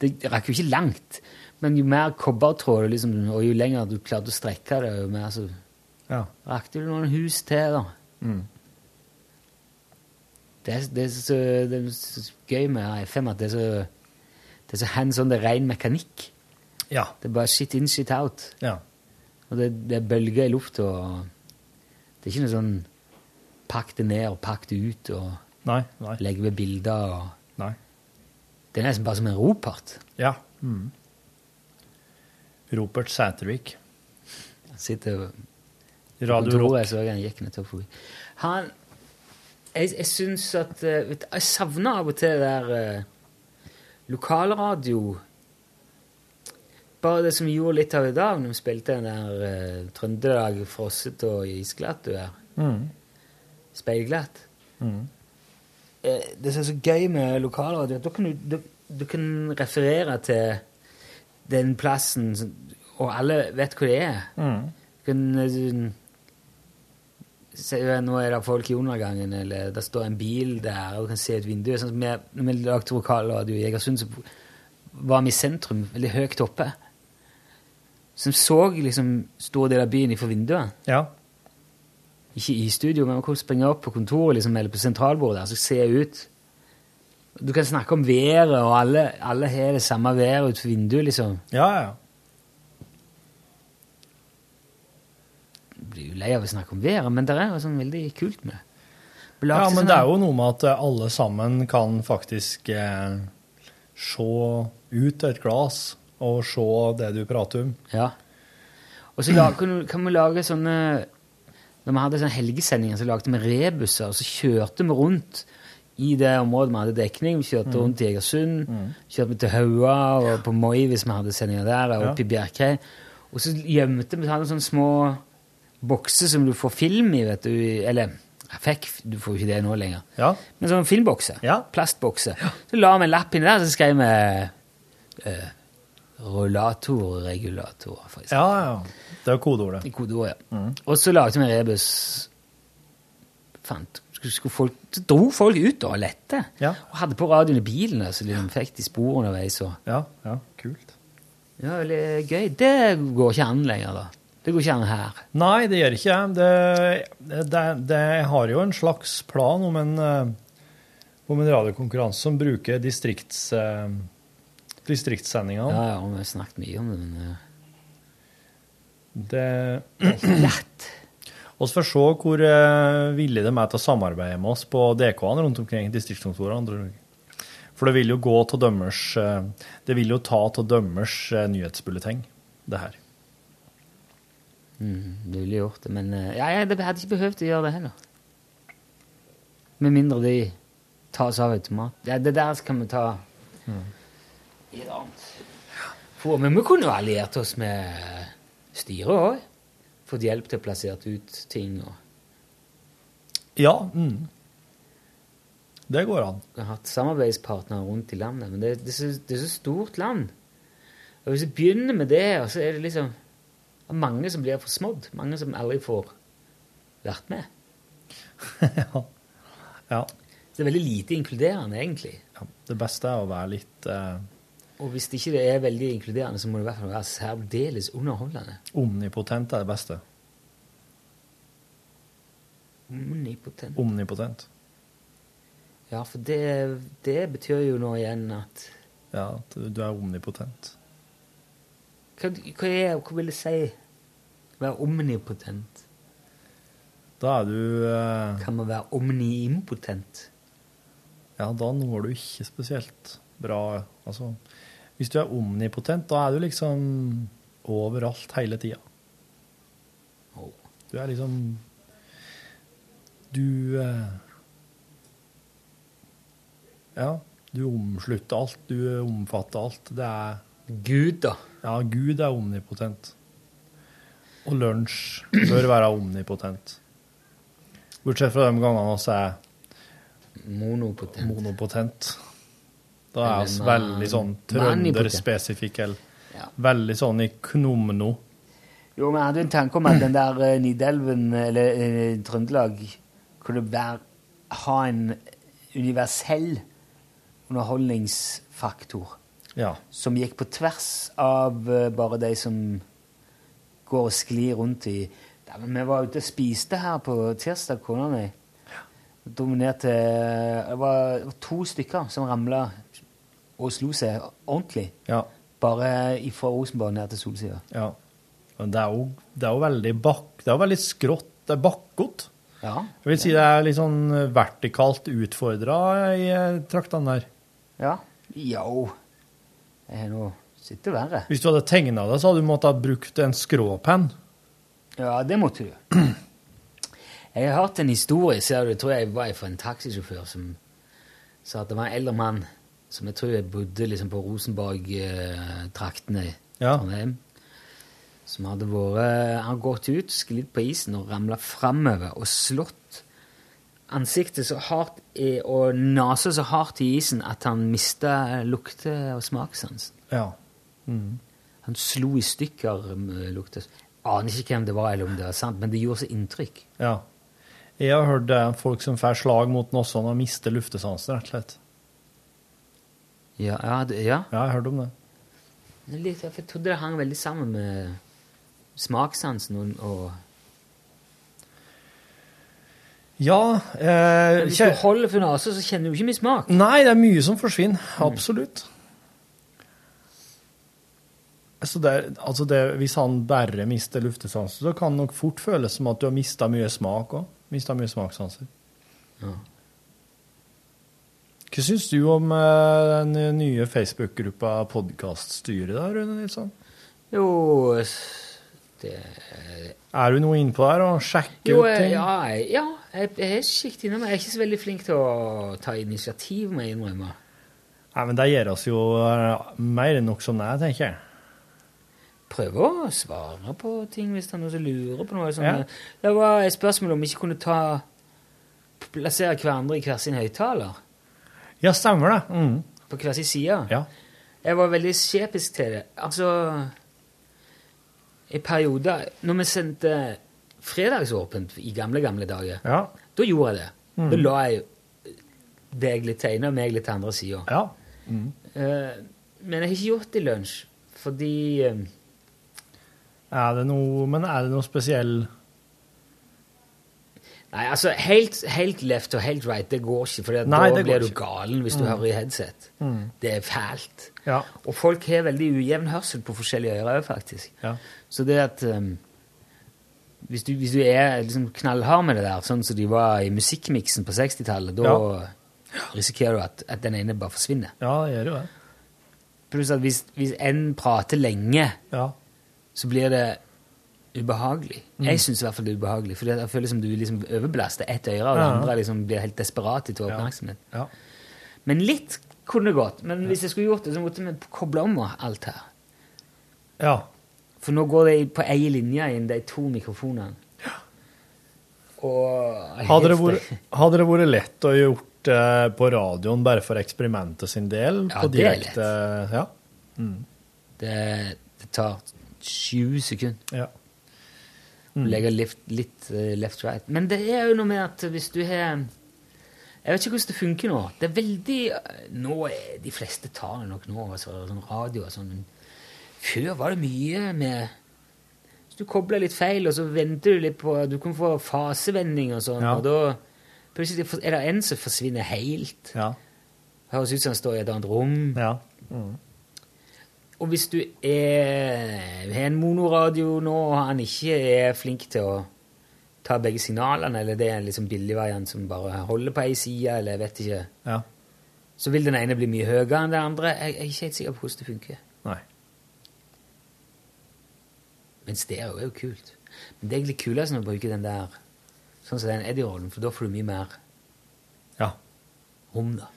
S3: Det rakk jo ikke langt. Men jo mer kobbertråd, liksom, og jo lenger du klarte å strekke det, jo mer altså, så
S6: Ja.
S3: rakk du noen hus til, da.
S6: Mm.
S3: Det er, det, er så, det er så gøy med FM at det er så, det er så hands on, det er ren mekanikk.
S6: Ja.
S3: Det er bare shit in, shit out.
S6: Ja.
S3: Og det, det er bølger i lufta. og Det er ikke noe sånn pakk det ned og pakk det ut og
S6: Nei, nei.
S3: legge ved bilder og
S6: Nei.
S3: Det er nesten bare som en ropert.
S6: Ja. Mm. Ropert Sætervik.
S3: Han sitter og
S6: Radio
S3: på
S6: Rock.
S3: kontoret, så han gikk nettopp forbi. Han Jeg, jeg syns at eh, vet, du, Jeg savner av og til det der eh, lokalradio Bare det som vi gjorde litt av i dag, når vi spilte den der eh, Trøndelag frosset og isglatt du er.
S6: Mm.
S3: Speilglatt.
S6: Mm.
S3: Eh, det som er så gøy med lokalradio, at da kan du, du, du kan referere til den plassen, som- og alle vet hvor det er.
S6: Mm.
S3: Kunne du- eh, se, ja, nå er det folk i undergangen, eller det står en bil der, og du kan se et vindu. Sånn som vi, når vi lagde lokalradio i Egersund, så var vi i sentrum, veldig høyt oppe. Som så liksom stor del av byen ifra vinduet.
S6: Ja.
S3: Ikke i studio, men man kunne springe opp på kontoret liksom, eller på sentralbordet der, så se ut. Du kan snakke om været, og alle, alle har det samme været utenfor vinduet, liksom.
S6: Ja, ja.
S3: blir jo lei av å snakke om været, men det er jo sånn veldig kult med det. Lag
S6: ja,
S3: til
S6: men
S3: sånn
S6: det
S3: her-
S6: er jo noe med at eh, alle sammen kan faktisk eh, se ut av et glass og se det du prater om.
S3: Ja. Og så lag, kan, kan vi lage sånne Når vi hadde sånne helgesendinger, så lagde vi rebusser, og så kjørte vi rundt i det området vi hadde dekning. Vi kjørte
S8: Mm.
S3: rundt i Egersund, kjørte vi til Haua og på Moi hvis vi hadde sendinger der, og
S8: Ja.
S3: opp i Bjerkreim. Og så gjemte vi hadde sånne små bokser som du får film i, vet du. Eller jeg fikk, du får jo ikke det nå lenger. Men sånne filmbokser. Plastbokser. sånn Så la vi en lapp inni der, så skrev vi eh, Rullatorregulator, for eksempel.
S6: Ja, ja. Det er kodeordet.
S3: Kodeordet, ja. Og så lagde vi en rebus. Fant, skulle, skulle folk, så dro folk ut da og lette. Og hadde på radioen i bilen, så liksom fikk de spor underveis. Og,
S6: ja, ja, kult.
S3: Ja, veldig gøy. Det går ikke an lenger, da. Det går ikke an her.
S6: Nei, det gjør ikke jeg. Det, det, det jeg har jo en slags plan om en, eh, om en radiokonkurranse som bruker distrikts, eh, distriktssendingene.
S3: Ja, ja, og vi har snakket mye om det, men eh,
S6: Det Lett. Vi får se hvor eh, villige de er til å samarbeide med oss på DK-ene rundt omkring i distriktskontorene. tror jeg. For det vil jo gå til dømmers eh, Det vil jo ta til dømmers eh, nyhetsbulleteng, det her.
S3: mm, Du ville gjort det, men eh, ja, ja, det hadde ikke behøvd å gjøre det heller. Med mindre de tas av automat. Ja, det der skal vi ta i et annet. For, men vi kunne jo alliert oss med styret òg. Fått hjelp til å plassere ut ting. og
S6: Ja. Mm. Det går an.
S3: Vi har hatt samarbeidspartnere rundt i landet, men det, det, er så, det er så stort land. Og Hvis vi begynner med det, og så er det liksom det er mange som blir forsmådd. Mange som aldri får vært med.
S6: Ja.
S3: Det er veldig lite inkluderende, egentlig.
S6: Det beste er å være litt eh,
S3: Og hvis ikke det er veldig inkluderende, så må det i hvert fall være særdeles underholdende.
S6: omnipotent er det beste.
S3: Omnipotent.
S6: Omnipotent.
S3: Ja, for det, det betyr jo nå igjen at
S6: Ja, at du er omnipotent.
S3: Hva, hva, er, hva vil det si? Være omnipotent?
S6: Da er du eh,
S3: Kan man være omniimpotent?
S6: Ja, da når du ikke spesielt bra Altså, hvis du er omnipotent, da er du liksom overalt hele tida. Du er liksom Du eh, Ja, du omslutter alt, du omfatter alt. Det er
S3: Gud, da.
S6: Ja, Gud er omnipotent. Og lunsj bør være omnipotent. Bortsett fra de gangene vi er
S3: Monopotent.
S6: Da er vi
S3: Eller man-
S6: veldig sånn
S3: manipotent.
S6: trønderspesifikk, eller veldig sånn i knomno.
S3: Jo, men jeg hadde en tanke om at den der eh, Nidelven, eller eh, Trøndelag, kunne være, ha en universell underholdningsfaktor
S6: Ja.
S3: som gikk på tvers av eh, bare de som går og sklir rundt i ja, men Vi var ute og spiste her på tirsdag, kona mi. Dominerte eh, Det var det var to stykker som ramla og slo seg ordentlig.
S6: Ja.
S3: Bare ifra Rosenborg ned til Solsida.
S6: Ja. Men det er jo, det er jo veldig bak... Det er jo veldig skrått. Det er bakkot.
S3: Ja.
S6: Jeg vil si det er litt sånn vertikalt utfordra i eh, traktene der.
S3: Ja. Jo Jeg har nå sittet verre.
S6: Hvis du hadde tegna det, så hadde du måttet ha brukt en skråpenn.
S3: Ja, det måtte du. Jeg har hørt en historie, ser du, tror jeg var fra en taxisjåfør som sa at det var en eldre mann som jeg tror jeg bodde liksom på Rosenborg-traktene i
S6: Ja.
S3: Trondheim, som hadde vært, eh, han gått ut, sklidd på isen og ramlet fremover og slått ansiktet så hardt i, og nasa så hardt i isen at han mistet lukte- og smaksansen.
S6: Ja. Mm.
S3: Han slo i stykker eh, lukta. Aner ikke hvem det var, eller om det var sant, men det gjorde så inntrykk.
S6: ja. Jeg har hørt det er folk som får slag mot noe sånt og mister luftesansen, rett og slett.
S3: Ja, ja, det, ja.
S6: Ja, jeg har hørt om det.
S3: Det er Litt, jeg trodde det hang veldig sammen med smakssansen og, og
S6: Ja eh,
S3: Hvis
S6: kjæ-
S3: du holder for nesa, så kjenner du ikke mye smak.
S6: Nei, det er mye som forsvinner. Absolutt. Så det, er- altså det, hvis han bare mister luftesansen, så kan det nok fort føles som at du har mista mye smak òg. Mista mye smakssanser.
S3: Ja.
S6: Hva syns du om eh, den nye Facebook-gruppa Podkaststyret der, Rune Nilsson?
S3: Jo det,
S6: Er du noe innpå der og sjekker
S3: Jo,
S6: ut
S3: jeg-
S6: ting?
S3: ja, jeg, ja jeg, jeg er sikt innom. Jeg er ikke så veldig flink til å ta initiativ, må jeg innrømme.
S6: Nei, men det gjør oss jo eh, mer enn nok som det er, tenker jeg.
S3: Prøve å svare på ting hvis det er noen som lurer på noe. Sånn,
S6: Ja.
S3: Det var et spørsmål om vi ikke kunne ta plassere hverandre i hver sin høyttaler.
S6: Ja, stemmer det. Mm.
S3: På hver sin side.
S6: Ja.
S3: Jeg var veldig skjepisk til det. Altså I perioder Når vi sendte fredagsåpent i gamle, gamle dager,
S6: Ja.
S3: da gjorde jeg det.
S6: Mm.
S3: Da la jeg deg litt til ene og meg litt til andre sida.
S6: Mm.
S3: men jeg har ikke gjort det i lunsj, fordi eh,
S6: Er det noe, men er det noe spesiell
S3: Nei, altså, helt, helt left og helt right, det går ikke, for da
S6: Nei, det går
S3: blir du
S6: ikke.
S3: galen hvis du
S6: Mm.
S3: hører i headset.
S6: Mm.
S3: Det er fælt.
S6: Ja.
S3: Og folk har veldig ujevn hørsel på forskjellige ører, faktisk. Så det at um, hvis, du, hvis du er liksom knallhard med det der, sånn som de var i musikkmiksen på 60-tallet, da risikerer du at, at den ene bare forsvinner.
S6: Ja, det gjør jo det.
S3: Pluss at hvis, hvis en prater lenge,
S6: Ja.
S3: så blir det ubehagelig.
S6: Mm.
S3: Jeg syns i hvert fall det er ubehagelig, for det føles som du liksom overbelaster ett øre, og det
S6: Ja.
S3: andre liksom blir helt desperat etter oppmerksomhet.
S6: Ja.
S3: Men litt kunne det gått. Men hvis jeg skulle gjort det, så måtte vi koble om alt her.
S6: Ja.
S3: For nå går det på ei linje inn de to mikrofonene. Og
S6: Hadde det, vært, hadde det vært lett å gjort eh, på radioen bare for eksperimentet sin del?
S3: Ja,
S6: på
S3: det er
S6: direkte, lett. Ja.
S3: Det, det tar sju sekunder.
S6: Ja.
S3: Mm. Legger litt, litt eh, left-right. Men det er jo noe med at hvis du har Jeg vet ikke hvordan det funker nå. Det er veldig eh, Nå er de fleste tar det nok nå, altså, sånn radio og sånn. Men før var det mye med Hvis du kobler litt feil, og så venter du litt på Du kan få fasevending og sånn,
S6: Ja.
S3: og da plutselig for- er det en som forsvinner helt. Høres ut som han står i et annet rom. Og hvis du er, har en monoradio nå, og han ikke er flink til å ta begge signalene, eller det er en liksom billig variant som bare holder på ei side, eller jeg vet ikke,
S6: Ja.
S3: så vil den ene bli mye høyere enn den andre. Jeg, jeg er ikke helt sikker på hvordan det funker.
S6: Nei.
S3: Men stereo er jo kult. Men det er egentlig kulest når du bruker den der, sånn som den Eddie-rollen, for da får du mye mer
S6: Ja.
S3: rom, da.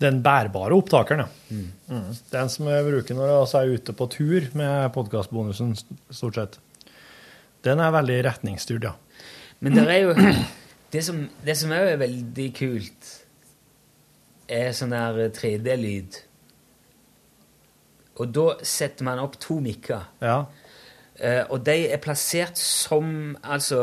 S6: Den bærbare opptakeren, ja.
S3: Mm.
S6: Mm. Den som jeg bruker når jeg også er ute på tur med podkastbonusen, stort sett. Den er veldig retningsstyrt, ja.
S3: Men det er jo Det som, det som også er veldig kult, er sånn der 3D-lyd. Og da setter man opp to mikker.
S6: Ja.
S3: Eh, og de er plassert som Altså,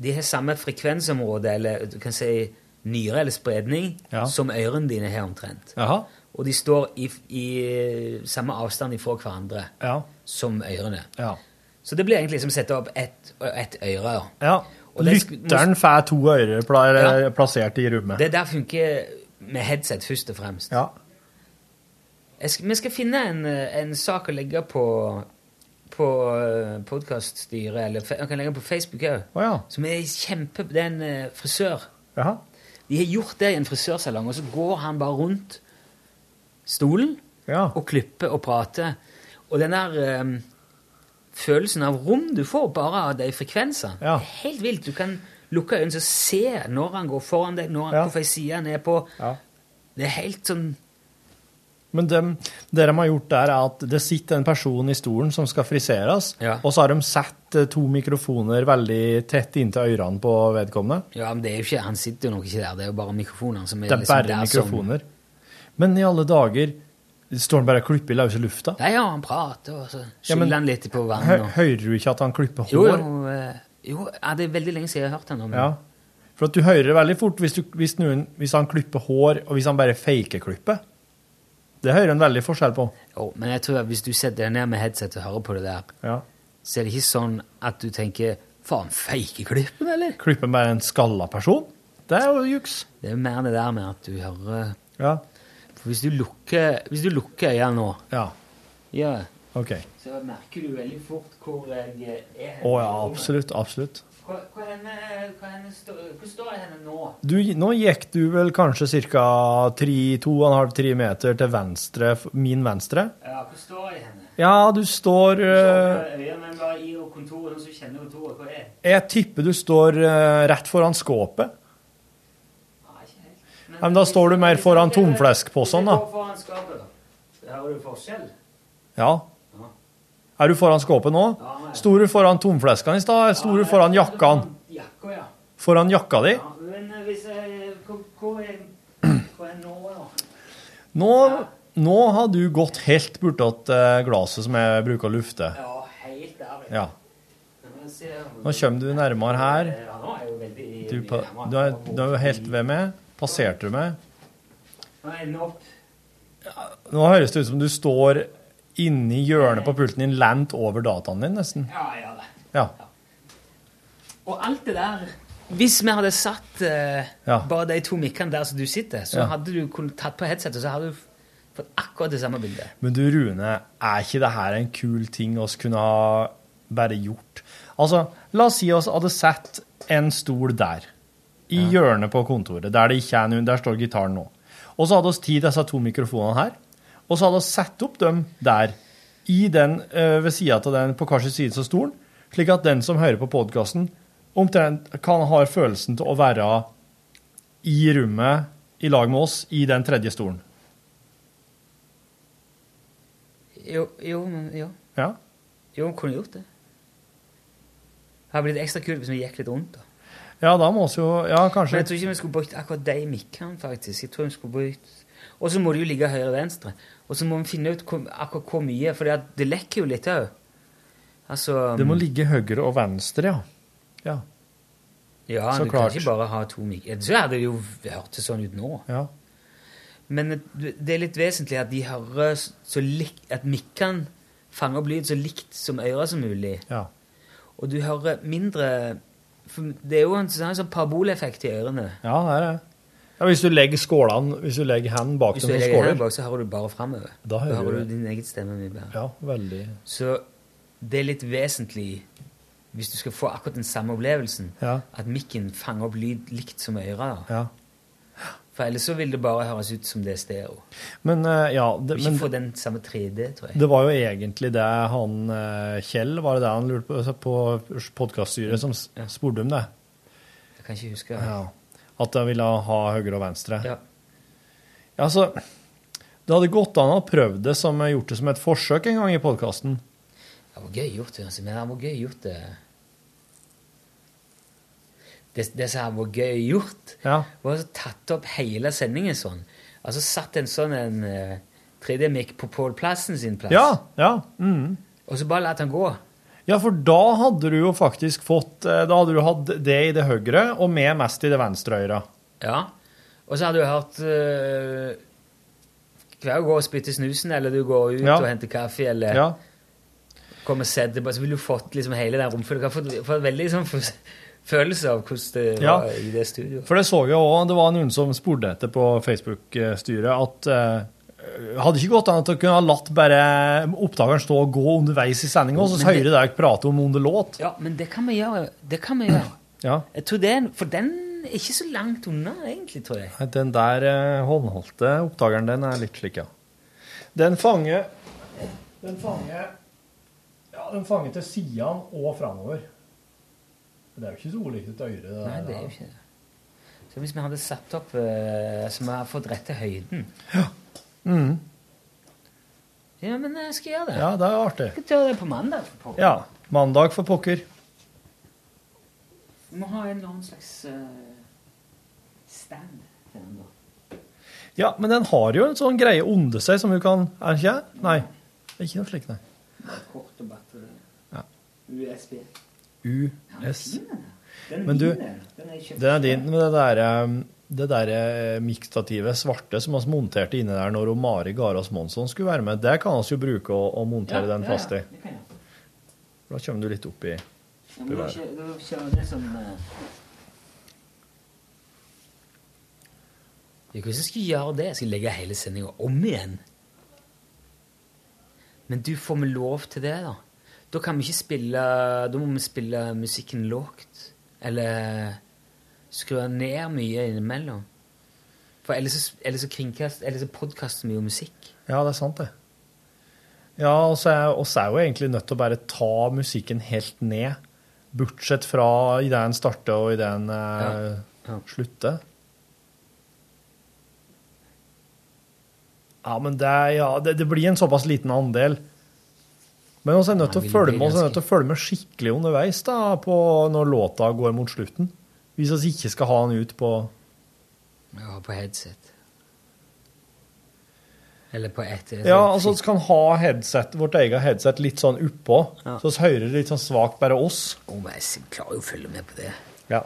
S3: de har samme frekvensområde, eller du kan si nyre eller spredning,
S6: Ja.
S3: som ørene dine har omtrent.
S6: Jaha.
S3: Og de står i, i samme avstand ifra hverandre
S6: Ja.
S3: som ørene.
S6: Ja.
S3: Så det blir egentlig som å sette opp ett ett øre. da.
S6: ja.
S3: Og det sk-
S6: Lytteren får to ører pla
S3: Ja.
S6: plassert i rommet.
S3: Det der funker med headset først og fremst. Jeg sk vi skal finne en, eh, en sak å legge på på eh, podcaststyret, eller fe- jeg kan legge den på Facebook òg. Som er kjempe... Det er en eh, frisør.
S6: Jaha.
S3: De har gjort det i en frisørsalong, og så går han bare rundt stolen og klippe og prate. Og den der eh, følelsen av rom du får bare av de frekvensene, det er helt vilt. Du kan lukke øynene og se når han går foran deg, når han ja. hvorfor siden han er på. Det er helt sånn
S6: Men dem, det de har gjort der, er at det sitter en person i stolen som skal friseres, og så har de satt eh, to mikrofoner veldig tett inntil ørene på vedkommende.
S3: Ja, men det er jo ikke, Han sitter jo nok ikke der, det er jo bare mikrofonene som er
S6: Det er
S3: liksom
S6: bare
S3: der som-
S6: mikrofoner. Men i alle dager står han bare og klipper i løse lufta.
S3: Nei, ja, han prater, og så
S6: Ja, men-
S3: skyller han litt på
S6: Hø
S3: vann. Og...
S6: hører du ikke at han klipper hår?
S3: Jo, jo, eh, jo ja, det er veldig lenge siden jeg har hørt han om det.
S6: Ja. For at du hører det veldig fort hvis, du, hvis, noen, hvis han klipper hår, og hvis han bare faker klippet. Det hører en veldig forskjell på.
S3: Jo, men jeg tror at hvis du setter deg ned med headset og hører på det der, så er det ikke sånn at du tenker faen, fake klippen, eller?
S6: Klipper bare en skalla person? Det er jo juks.
S3: Det er jo mer det der med at du hører
S6: Ja.
S3: For hvis du lukker, hvis du lukker øynene nå
S6: Ja.
S3: ja,
S6: OK.
S3: så merker du veldig fort hvor jeg er.
S6: Å ja, absolutt. Absolutt.
S3: Hvor, hvor, henne, hvor, henne står, hvor står jeg henne nå?
S6: Du, nå gikk du vel kanskje ca. 2,5-3 meter til venstre, f- min venstre?
S3: Ja, hvor står jeg henne?
S6: Ja, du står eh,
S3: Øynene bare i og kontoret, og så kjenner kontoret hvor jeg er.
S6: Jeg tipper du står eh, rett foran skåpet. Ja, men da står du mer foran tomfleskposen, da.
S3: Hvor foran skapet, da? Hører du forskjell?
S6: Ja. Er du foran skåpet nå? Sto du foran tomfleskene i stad? Sto du foran jakkene?
S3: Jakka, ja.
S6: Foran jakka di?
S3: Men eh, hvis jeg Hvor, hvor, er, hvor er jeg nå, da?
S6: Nå, nå har du gått helt bortåt eh, glasset som jeg bruker å lufte.
S3: Ja, helt der.
S6: Ja.
S3: Men jeg ser-
S6: Nå kommer du nærmere her.
S3: Ja, nå er jeg jo veldig
S6: Du, pa- du, er, du er jo helt ved meg. Passerte du meg?
S3: Nå er jeg nå opp.
S6: Nå høres det ut som du står inni hjørnet på pulten din, lent over dataen din, nesten.
S3: Ja, ja da.
S6: Ja.
S3: Og alt det der Hvis vi hadde satt eh,
S6: Ja.
S3: bare de to mikkene der som du sitter, så
S6: Ja.
S3: hadde du kunnet tatt på headsetet, og så hadde du f- fått akkurat det samme bildet.
S6: Men du, Rune, er ikke det her en kul ting oss kunne ha bare gjort? Altså, la oss si oss hadde sett en stol der, i hjørnet på kontoret, der det ikke er noen, der står gitaren nå. Og så hadde oss tid disse to mikrofonene her, og så hadde oss sett opp dem der, i den, ø, ved siden av den, på hver sin side av stolen, slik at den som hører på podcasten, omtrent kan ha følelsen til å være i rummet, i lag med oss, i den tredje stolen.
S3: Jo, jo, men jo.
S6: Ja.
S3: Jo, vi kunne gjort det. Det hadde blitt ekstra kult hvis vi gikk litt rundt. da.
S6: Ja, da må vi jo, ja, kanskje.
S3: Men jeg tror ikke vi skulle brukt akkurat de mikkene, faktisk. Jeg tror vi skulle brukt... Og så må det jo ligge høyre-venstre. Og så må vi finne ut hvor, akkurat hvor mye, for det lekker jo litt òg. Altså
S6: Det må ligge høyre og venstre, ja. ja.
S3: Ja,
S6: så
S3: du
S6: klart.
S3: kan ikke bare ha to mikker. Så hadde det jo hørtes sånn ut nå.
S6: Ja.
S3: Men det er litt vesentlig at de hører så lik, at mikkene fanger opp lyd så likt som øret som mulig.
S6: Ja.
S3: Og du hører mindre for Det er jo en sånn, sånn paraboleffekt i ørene.
S6: Ja, det er det. Ja, hvis du legger skålene, hvis du legger hendene bak
S3: Hvis
S6: dem
S3: du
S6: som
S3: legger
S6: skåler.
S3: hendene bak, så hører du bare framover.
S6: Da hører du
S3: du
S6: det.
S3: din egen stemme mye bedre.
S6: Ja, veldig.
S3: Så det er litt vesentlig, hvis du skal få akkurat den samme opplevelsen,
S6: Ja.
S3: at mikken fanger opp lyd likt som øret.
S6: Ja.
S3: For ellers så vil det bare høres ut som det er stereo.
S6: Men eh, ja,
S3: Du
S6: det,
S3: vil
S6: men,
S3: ikke få den samme 3D, tror jeg.
S6: det var jo egentlig det han eh, Kjell, var det det han lurte på, altså, på podkaststyret, som s- spurte om det?
S3: Jeg kan ikke huske.
S6: Ja. At de ville ha høyre og venstre?
S3: Ja.
S6: Ja, altså, det hadde gått an å prøve det som eh, gjort det som et forsøk en gang i podkasten.
S3: Det var gøy gjort, altså. Men det var gøy gjort, det. Det, det som her var gøy gjort, var altså tatt opp hele sendingen sånn. Altså satt en sånn en 3D-mikk på Pål Plassen sin plass.
S6: Ja, ja. mhm.
S3: Og så bare latt han gå.
S6: Ja, for da hadde du jo faktisk fått eh, Da hadde du hatt det i det høyre, og meg mest i det venstre øret.
S3: Ja. Og så har du hørt eh, Hver går og spytter snusen, eller du går ut
S6: Ja.
S3: og henter kaffe, eller
S6: Ja.
S3: kommer og setter deg på, så ville du fått liksom hele den romfølelsen. Du har fått, fått veldig sånn f- følelse av hvordan det var
S6: Ja.
S3: i det studioet.
S6: For det så jeg òg, det var noen som spurte etter på Facebook-styret, at eh, hadde ikke gått an at du kunne ha latt bare opptakeren stå og gå underveis i sendinga, og så
S3: Men det-
S6: hører dere prate om under låt?
S3: Ja, men det kan vi gjøre. Det kan vi gjøre.
S6: Ja.
S3: Jeg tror det er, en- for den er ikke så langt unna, egentlig, tror jeg.
S6: Nei, Den der eh, håndholdte opptakeren, den er litt slik, ja. Den fanger Den fanger Ja, den fanger til sidene og framover. Det er jo ikke så ulikt et øyre.
S3: Nei, det er jo ikke det. Så hvis vi hadde satt opp eh, Så vi hadde fått rett til høyden
S6: Mm.
S3: Ja, men jeg skal gjøre det.
S6: Ja, det er artig.
S3: Jeg skal gjøre det på mandag. På.
S6: Ja. Mandag for pokker.
S3: Vi må ha en eller annen slags eh, stand. til den da.
S6: Ja, men den har jo en sånn greie under seg som hun kan Er den ikke det? Nei. Det er ikke noe slikt, nei.
S3: Med Kort og batteri.
S6: Ja.
S3: USB.
S6: US.
S3: Den er
S6: Men du,
S3: min, den. Den er kjøpt.
S6: den er din. Men det der, eh, det der eh, mikstativet svarte som vi monterte inni der når hun Mari Garas Monsson skulle være med, det kan vi jo bruke å, å montere den fast i.
S3: det kan jeg.
S6: Da kommer du litt opp i
S3: Ja, men da
S6: Bevarer.
S3: kjø- da kjører det som eh, Jeg vet ikke om jeg skal gjøre det. Jeg skal legge hele sendinga om igjen. Men du, får vi lov til det, da? Da kan vi ikke spille Da må vi spille musikken lågt. Eller skru den ned mye innimellom. For ellers så, ellers så, kringkast- ellers så podkaster vi jo musikk.
S6: Ja, det er sant, det. Ja, og så er, og så er jo egentlig nødt til å bare ta musikken helt ned. Bortsett fra idet den starter og idet den eh, slutter. Ja, men det, er- ja, det, det blir en såpass liten andel. Men vi er nødt til å
S3: Nei, vi
S6: følge
S3: blir
S6: med, også er
S3: ganske-
S6: nødt til å følge med skikkelig underveis da, på når låta går mot slutten. Hvis vi ikke skal ha den ut på
S3: Vi har på headset. Eller på et
S6: Ja, altså vi kan ha headset, vårt eget headset litt sånn oppå, så vi hører litt sånn svakt bare oss.
S3: Oh, men jeg klarer jo å følge med på det.
S6: Ja.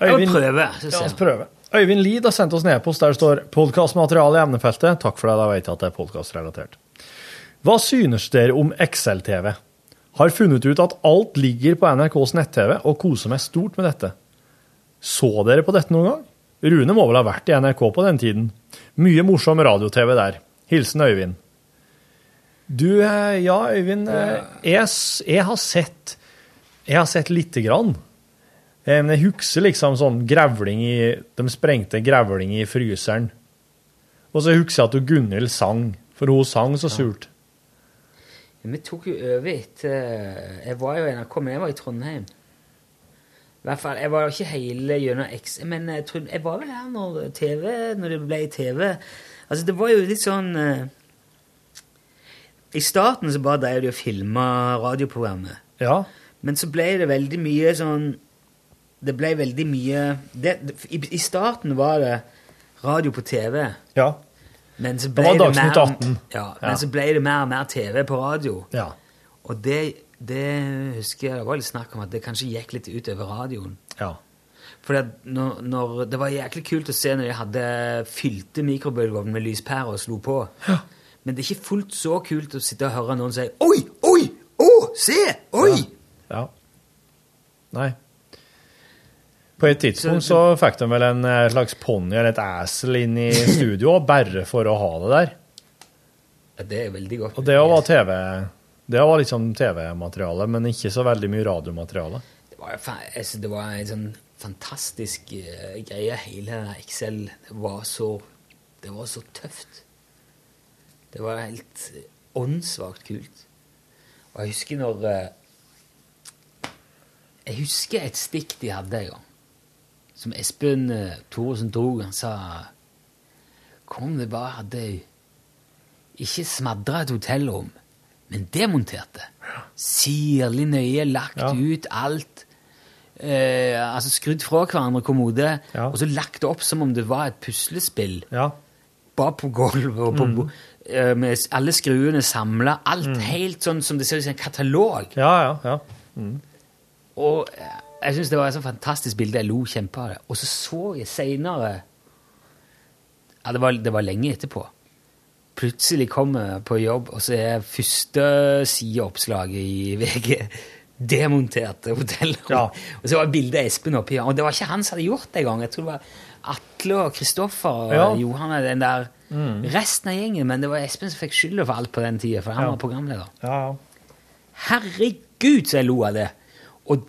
S3: Jeg vil prøve, så
S6: ja,
S3: ser
S6: vi prøver. Øyvind Lid har sendt oss en e-post der det står 'podkastmateriale i emnefeltet'. Takk for det, da vet jeg at det er podkastrelatert. Hva synes dere om XL-TV? Har funnet ut at alt ligger på NRKs nett-TV, og koser meg stort med dette. Så dere på dette noen gang? Rune må vel ha vært i NRK på den tiden. Mye morsom radio-TV der. Hilsen Øyvind. Du, eh, ja, Øyvind. eh, Jeg, s- jeg har sett Jeg har sett lite grann. Eh, Men jeg husker liksom sånn grevling i De sprengte grevling i fryseren. Og så husker jeg at hun Gunhild sang, for hun sang så surt.
S3: Vi tok jo over etter eh, Jeg var jo i NRK, men jeg var i Trondheim. I hvert fall, Jeg var jo ikke hele gjennom X, men jeg, tror, jeg var vel her når, TV, når det ble TV. Altså, det var jo litt sånn eh, I starten så bare drev de og filma radioprogrammet.
S6: Ja.
S3: Men så ble det veldig mye sånn Det ble veldig mye det, det- i, I starten var det radio på TV.
S6: Ja.
S3: Men så
S6: Det
S3: ble
S6: var
S3: det,
S6: Dagsnytt
S3: mer,
S6: 18.
S3: Ja,
S6: Ja.
S3: men så ble det mer og mer TV på radio.
S6: Ja.
S3: Og det, det husker jeg det var litt snakk om at det kanskje gikk litt ut over radioen.
S6: Ja.
S3: For det, når, når, det var jæklig kult å se når de hadde fylte mikrobølgeovnen med lyspærer og slo på. Men det er ikke fullt så kult å sitte og høre noen si Oi, oi, å, se! Oi!
S6: Ja. Nei. På et tidspunkt så fikk de vel en eh, slags ponni eller et esel inn i studio, bare for å ha det der.
S3: Ja, det er veldig godt.
S6: Og det var TV Det var liksom TV-materiale, men ikke så veldig mye radiomateriale.
S3: Det var, jo fa- altså, det var en sånn fantastisk eh, greie, hele den der Excel. Det var så, det var så tøft. Det var helt eh, åndssvakt kult. Og jeg husker når eh, Jeg husker et stikk de hadde en gang, som Espen eh, Thoresen drog. Han sa Kom, det bare hadde ikke smadra et hotellrom, men demonterte. Sirlig nøye, lagt ut alt. Eh, altså skrudd fra hverandre kommode, og så lagt det opp som om det var et puslespill. Bare på gulvet og på
S12: Mm.
S3: bo- eh, med s- alle skruene samla. Alt helt sånn som det ser ut som en katalog. Og eh, jeg syns det var et sånt fantastisk bilde. Jeg lo kjempe av det. Og så så jeg seinere ja, det, var, det var lenge etterpå. Plutselig kom jeg på jobb, og så er første sideoppslaget i VG demonterte hotellrom. Og så var bildet av Espen oppi her. Og det var ikke han som hadde gjort det engang. Jeg tror det var Atle og Kristoffer og
S12: Ja.
S3: Johan og den der
S12: Mm.
S3: resten av gjengen. Men det var Espen som fikk skylda for alt på den tida, for han
S12: Ja.
S3: var programleder.
S6: Ja, ja.
S3: Herregud, så jeg lo av det! Og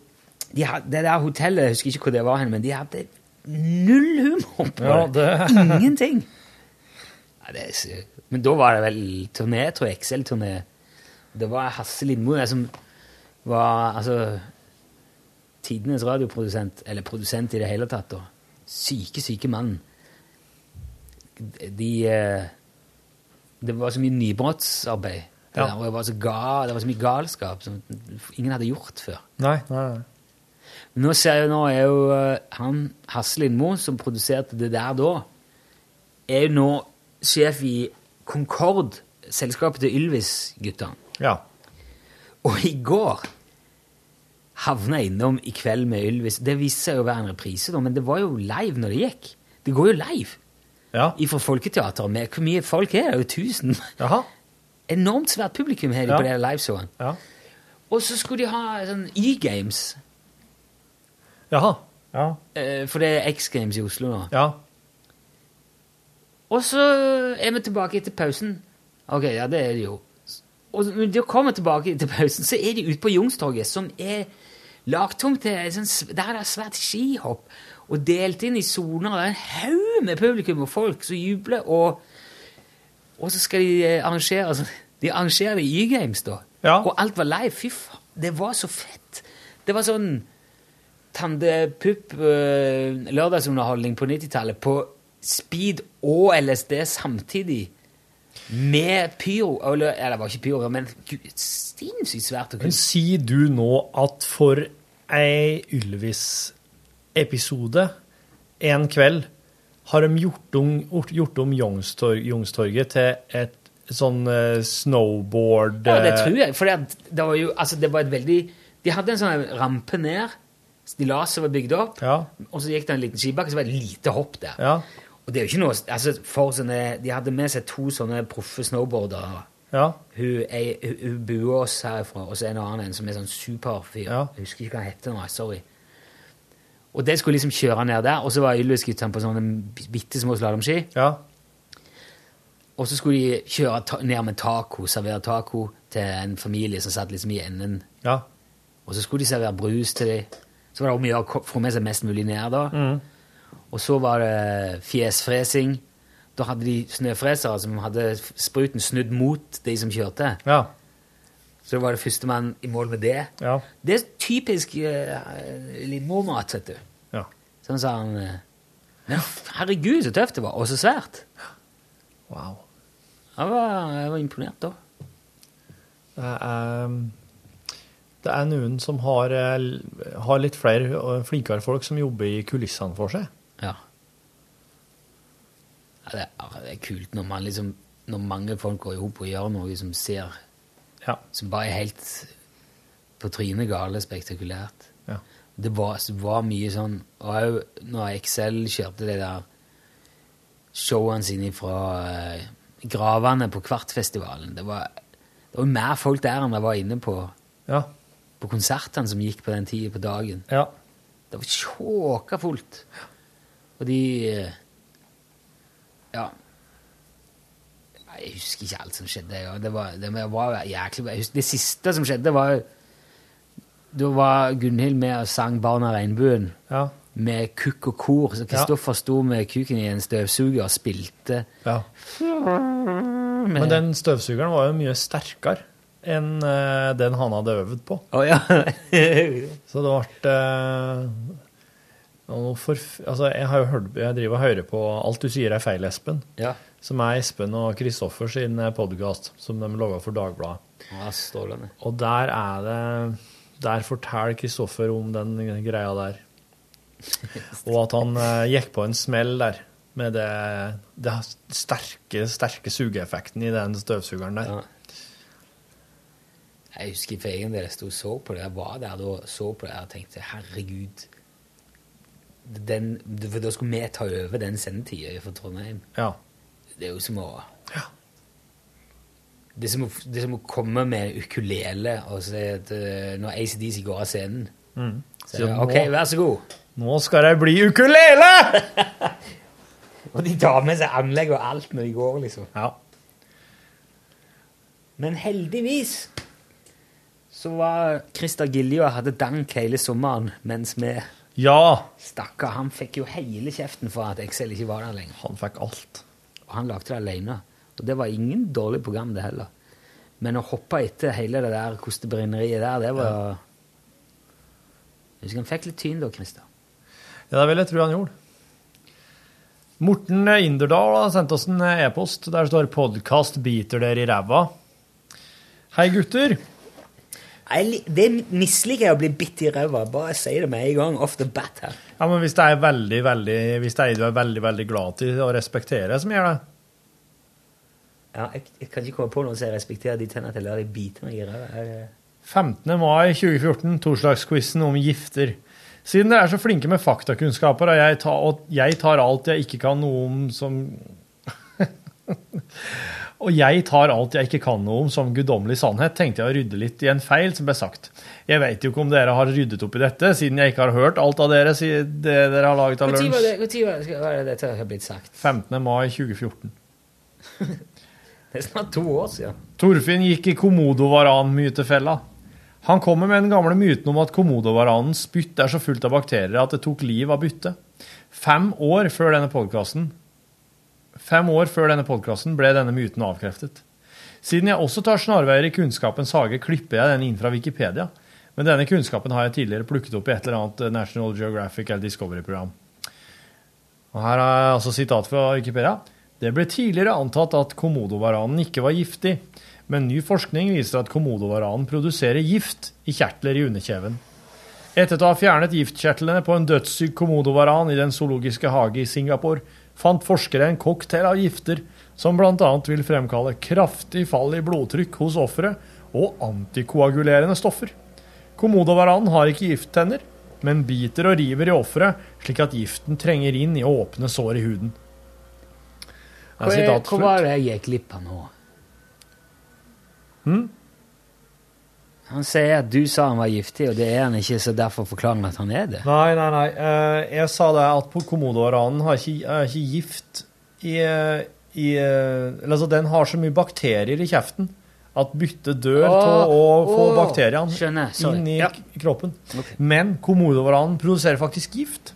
S3: de hadde, det der hotellet, jeg husker ikke hvor det var hen, men de hadde null humor på
S6: Ja,
S3: det. Ingenting. Ja, det er sy- Men da var det vel turné, tror jeg. Excel-turné. Det var Hasse Lindmo det som var altså, tidenes radioprodusent, eller produsent i det hele tatt. Da. Syke, syke mann. De eh, Det var så mye nybrottsarbeid. Det
S6: Ja.
S3: der, og det, var så ga, det var så mye galskap som ingen hadde gjort før.
S6: Nei, nei, nei.
S3: Men Nå ser jeg, nå er jo eh, han, Hasse Lindmo, som produserte det der da, er jo nå sjef i Concorde, selskapet til Ylvis-guttene.
S6: Ja.
S3: Og i går havna jeg innom I kveld med Ylvis. Det viste seg jo å være en reprise, da, men det var jo live når det gikk. Det går jo live fra Folketeatret. Med hvor mye folk er det? Det er jo 1000. Enormt svært publikum her
S12: Ja.
S3: på det liveshowet. Og så skulle de ha sånn E-games.
S6: Jaha.
S3: Eh, For det er X Games i Oslo nå.
S6: Ja.
S3: Og så er vi tilbake etter pausen. Ok, ja, det er det jo. Og når de kommer tilbake etter pausen, så er de ute på Youngstorget, som er lagtomt til sånn, sv- Der er det svært skihopp. Og delt inn i soner. Det er en haug med publikum og folk som jubler. Og, og så skal de eh, arrangere altså, De arrangerer Y-Games, da. Og alt var live. Fy faen, det var så fett. Det var sånn Tandepupp eh, lørdagsunderholdning på 90-tallet på speed og LSD samtidig. Med pyro Eller ja, det var ikke pyro, men gud, sinnssykt svært å
S6: Men
S3: kunne
S6: sier du nå at for ei Ylvis-episode en kveld har de gjort om, gjort om Youngstor- Youngstorget til et sånn eh, snowboard
S3: Ja, det
S6: eh,
S3: tror jeg. For det var jo altså, det var et veldig De hadde en sånn rampe ned. Stillaset var bygd opp, og så gikk det en liten skibakke, så var det et lite hopp der. Og det er jo ikke noe altså, for sånne, De hadde med seg to sånne proffe snowboardere.
S6: Ja.
S3: Hun, ei, hun, hun buer oss herifra, og så er det en annen en som er sånn superfyr. Jeg husker ikke hva han heter nå. Sorry. Og det skulle liksom kjøre ned der, og så var Ylvis-guttene på sånne bitte små slalåmski. Og så skulle de kjøre ta ned med taco, servere taco til en familie som satt liksom i enden.
S6: Ja.
S3: Og så skulle de servere brus til dem. Så var det om å gjøre å ko- få med seg mest mulig ned, da. Og så var det fjesfresing. Da hadde de snøfresere som hadde f- spruten snudd mot de som kjørte. Så var det førstemann i mål med det. Det er typisk uh, Lindmo-mat, vet du.
S6: Ja.
S3: Sånn sa han eh, «Men Herregud, så tøft det var, og så svært.
S6: Wow.
S3: Jeg var, jeg var imponert, da.
S6: Det er, um, det er noen som har, eh, har litt flere og flinkere folk som jobber i kulissene for seg.
S3: Ja. Ja, det, er, det er kult når, man liksom, når mange folk går i hop og gjør noe som ser Som bare er helt på trynet gale spektakulært.
S6: Ja.
S3: Det var, så var mye sånn Og òg når Excel kjørte det der showene sine fra eh, gravene på Kvartfestivalen Det var det var mer folk der enn det var inne på,
S6: Ja.
S3: på konsertene som gikk på den tida på dagen.
S6: Ja.
S3: Det var tjåka fullt. Og de eh, Ja. Nei, Jeg husker ikke alt som skjedde. ja. Det var, det var jæklig jeg husker, Det siste som skjedde, var Da var Gunhild med og sang 'Barn av regnbuen'
S6: Ja.
S3: med kukk og kor. Så Kristoffer sto med kuken i en støvsuger og spilte.
S6: Men den støvsugeren var jo mye sterkere enn eh, den han hadde øvd på. Så det ble eh, noe forf altså, jeg, har jo hørt, jeg driver og hører på Alt du sier er feil, Espen,
S3: Ja.
S6: som er Espen og Kristoffer sin podkast, som de laga for Dagbladet.
S3: Ja, strålende.
S6: Og der er det Der forteller Kristoffer om den greia der. Og at han eh, gikk på en smell der med det, det sterke, sterke sugeeffekten i den støvsugeren der.
S3: Jeg husker for egen del jeg sto og så på det. Jeg var der da og så på det og tenkte herregud den, For da skulle vi ta over den sendetida for Trondheim. Det er jo som å det, er som å det er som å komme med ukulele og si at eh, når ACDC går av scenen
S6: Mm.
S3: så, er det, OK, vær så god.
S6: Nå skal det bli ukulele!
S3: Og de tar med seg anlegg og alt når de går, liksom. Men heldigvis så var Christer Gilje og hadde dank hele sommeren, mens vi
S6: Ja!
S3: Stakkar, han fikk jo hele kjeften for at Excel ikke var der lenger.
S6: Han fikk alt.
S3: og han lagde det alene. Og det var ingen dårlig program, det heller. Men å hoppe etter hele det der kostebreneriet der, det var Jeg husker han fikk litt tyn da, Christer.
S6: Ja, det vil jeg tro han gjorde. Morten Inderdal har sendt oss en e-post der det står 'Podkast biter dere i ræva'. Hei, gutter.
S12: Jeg, li- det misliker jeg å bli bitt i ræva. Bare si det med en gang. Off the bat her.
S6: Ja, men hvis det er veldig, veldig, hvis det er en du er veldig, veldig glad til å respektere, som gjør det.
S12: Ja, jeg, jeg kan ikke komme på noen som jeg respekterer de tennene til, eller de biter meg i ræva. Er det-
S6: 15. mai 2014, torsdagsquizen om gifter. Siden dere er så flinke med faktakunnskaper, og jeg tar, og jeg tar alt jeg ikke kan noe om som Og jeg tar alt jeg ikke kan noe om som guddommelig sannhet, tenkte jeg å rydde litt i en feil som ble sagt. Jeg vet jo ikke om dere har ryddet opp i dette, siden jeg ikke har hørt alt av dere, sier det dere har laget av
S12: Hvor tid var
S6: lunsj.
S12: det- hvor tid var det- skal- var det dette har blitt sagt?
S6: 15. mai 2014.
S12: Det er snart to år siden.
S6: Torfinn gikk i komodovaran-mytefella. Han kommer med den gamle myten om at komodovanens spytt er så fullt av bakterier at det tok liv av byttet. Fem år før denne podkasten Fem år før denne podkasten ble denne myten avkreftet. Siden jeg også tar snarveier i kunnskapens hage, klipper jeg den inn fra Wikipedia. Men denne kunnskapen har jeg tidligere plukket opp i et eller annet National Geographic eller Discovery-program. Og Her er altså sitat fra Wikipedia. Det ble tidligere antatt at komodovaranen ikke var giftig, men ny forskning viser at komodovaranen produserer gift i kjertler i underkjeven. Etter å ha fjernet giftkjertlene på en dødssyk komodovaran i den zoologiske hage i Singapore, fant forskere en cocktail av gifter som bl.a. vil fremkalle kraftig fall i blodtrykk hos offeret og antikoagulerende stoffer. Komodovaranen har ikke gifttenner, men biter og river i offeret, slik at giften trenger inn i åpne sår i huden. Det er
S12: Hvor, er,
S6: sitat
S12: hvor
S6: slutt.
S12: var det jeg gikk glipp av nå?
S6: Hm?
S12: Han sier at du sa han var giftig, og det er han ikke, så derfor forklarer han at han er det.
S6: Nei, nei, nei. Eh, jeg sa det at på komodovaranen har ikke, er ikke gift i, eh, i eh, Eller altså, den har så mye bakterier i kjeften at byttet dør
S12: Åh,
S6: til å få
S12: åh,
S6: bakteriene
S12: skjønner, sorry.
S6: inn i
S12: Ja.
S6: k- kroppen. Men komodovaranen produserer faktisk gift.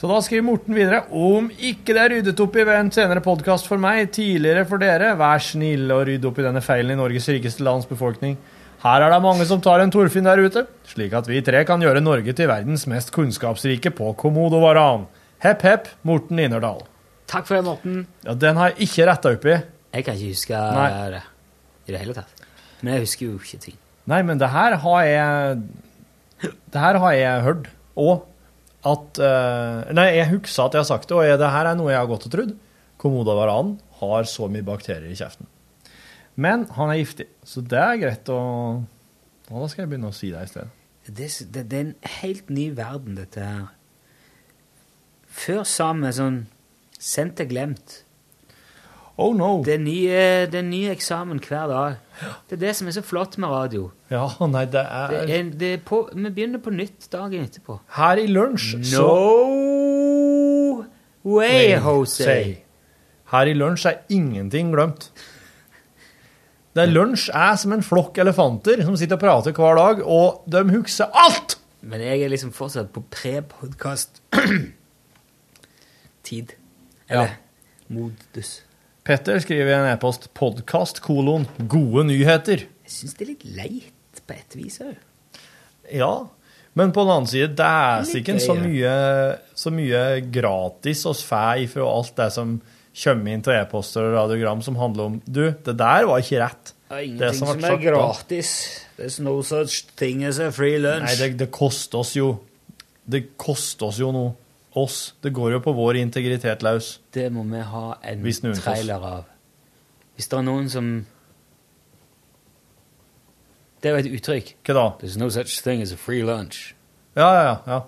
S6: Så da skriver Morten videre om ikke det er ryddet opp i ved en senere podkast for meg, tidligere for dere, vær snill å rydde opp i denne feilen i Norges rikeste lands befolkning. Her er det mange som tar en Torfinn der ute, slik at vi tre kan gjøre Norge til verdens mest kunnskapsrike på komodovaran. Hepp, hepp, Morten Innerdal.
S12: Takk for det, Morten.
S6: Ja, den har jeg ikke retta opp i.
S12: Jeg kan ikke huske
S6: Nei.
S12: det i det hele tatt. Men jeg husker jo ikke ting.
S6: Nei, men det her har jeg Det her har jeg hørt òg. At eh, Nei, jeg husker at jeg har sagt det, og jeg, det her er noe jeg har gått og trodd. Komodavaranen har så mye bakterier i kjeften. Men han er giftig, så det er greit å Ja, Da skal jeg begynne å si det i stedet.
S12: Det, er s- det, det er en helt ny verden, dette her. Før sa vi sånn sendt og glemt.
S6: Oh no!
S12: Det er ny, eh, det er ny eksamen hver dag. Det er det som er så flott med radio.
S6: Ja, nei, det er,
S12: Det er, det er på, vi begynner på nytt dagen etterpå.
S6: Her i lunsj så
S12: No way, Jose!
S6: Her i lunsj er ingenting glemt. Det er Lunsj er som en flokk elefanter som sitter og prater hver dag, og de husker alt!
S12: Men jeg er liksom fortsatt på pre-podkast. Tid. Eller modus.
S6: Petter skriver i en e-post 'podkast kolon gode nyheter'.
S12: Jeg syns det er litt leit på et vis òg.
S6: Ja, men på den annen side, det er
S12: Litt
S6: sikkert så
S12: gøy,
S6: mye, så mye gratis oss får ifra alt det som kommer inn til e-poster og radiogram som handler om Du, det der var ikke rett.
S12: Ingenting som,
S6: ble
S12: er
S6: sagt da-
S12: gratis. There's no such thing as a free lunch.
S6: Nei, det, det koster oss jo Det koster oss jo noe. Oss. Det går jo på vår integritet løs.
S12: Det må vi ha en
S6: Hvis noen får-
S12: trailer av. Hvis det er noen som Det er jo et uttrykk.
S6: Hva da?
S12: There's no such thing as a free lunch.
S6: Ja, ja, ja. ja.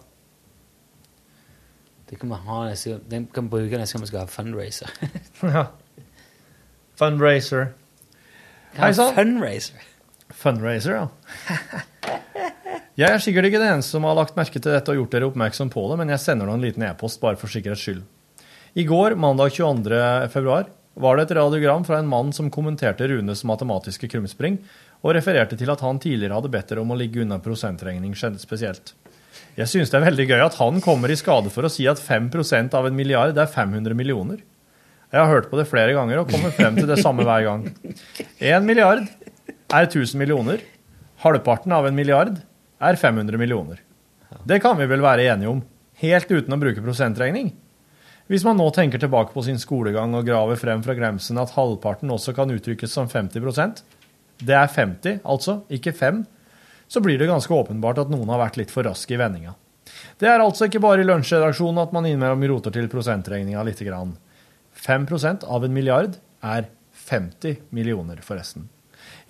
S12: Det kan vi ha neste gang. Den kan vi bruke neste gang vi skal ha fundraiser.
S6: Ja. Fundraiser.
S12: Ja,
S6: Fundraiser. Fundraiser, ja. Jeg er sikkert ikke den eneste som har lagt merke til dette og gjort dere oppmerksom på det, men jeg sender nå en liten e-post bare for sikkerhets skyld. I går, mandag 22. februar, var det et radiogram fra en mann som kommenterte Runes matematiske krumspring, og refererte til at han tidligere hadde bedt dere om å ligge unna prosentregning skjedde spesielt. Jeg synes det er veldig gøy at han kommer i skade for å si at 5 av en milliard er 500 millioner. Jeg har hørt på det flere ganger og kommer frem til det samme hver gang. Én milliard er 1000 millioner. Halvparten av en milliard er 500 millioner. Det kan vi vel være enige om, helt uten å bruke prosentregning? Hvis man nå tenker tilbake på sin skolegang og graver frem fra glemselen at halvparten også kan uttrykkes som 50 det er 50, altså, ikke 5, så blir det ganske åpenbart at noen har vært litt for raske i vendinga. Det er altså ikke bare i lunsjredaksjonen at man innimellom roter til prosentregninga lite grann. 5 av en milliard er 50 millioner, forresten.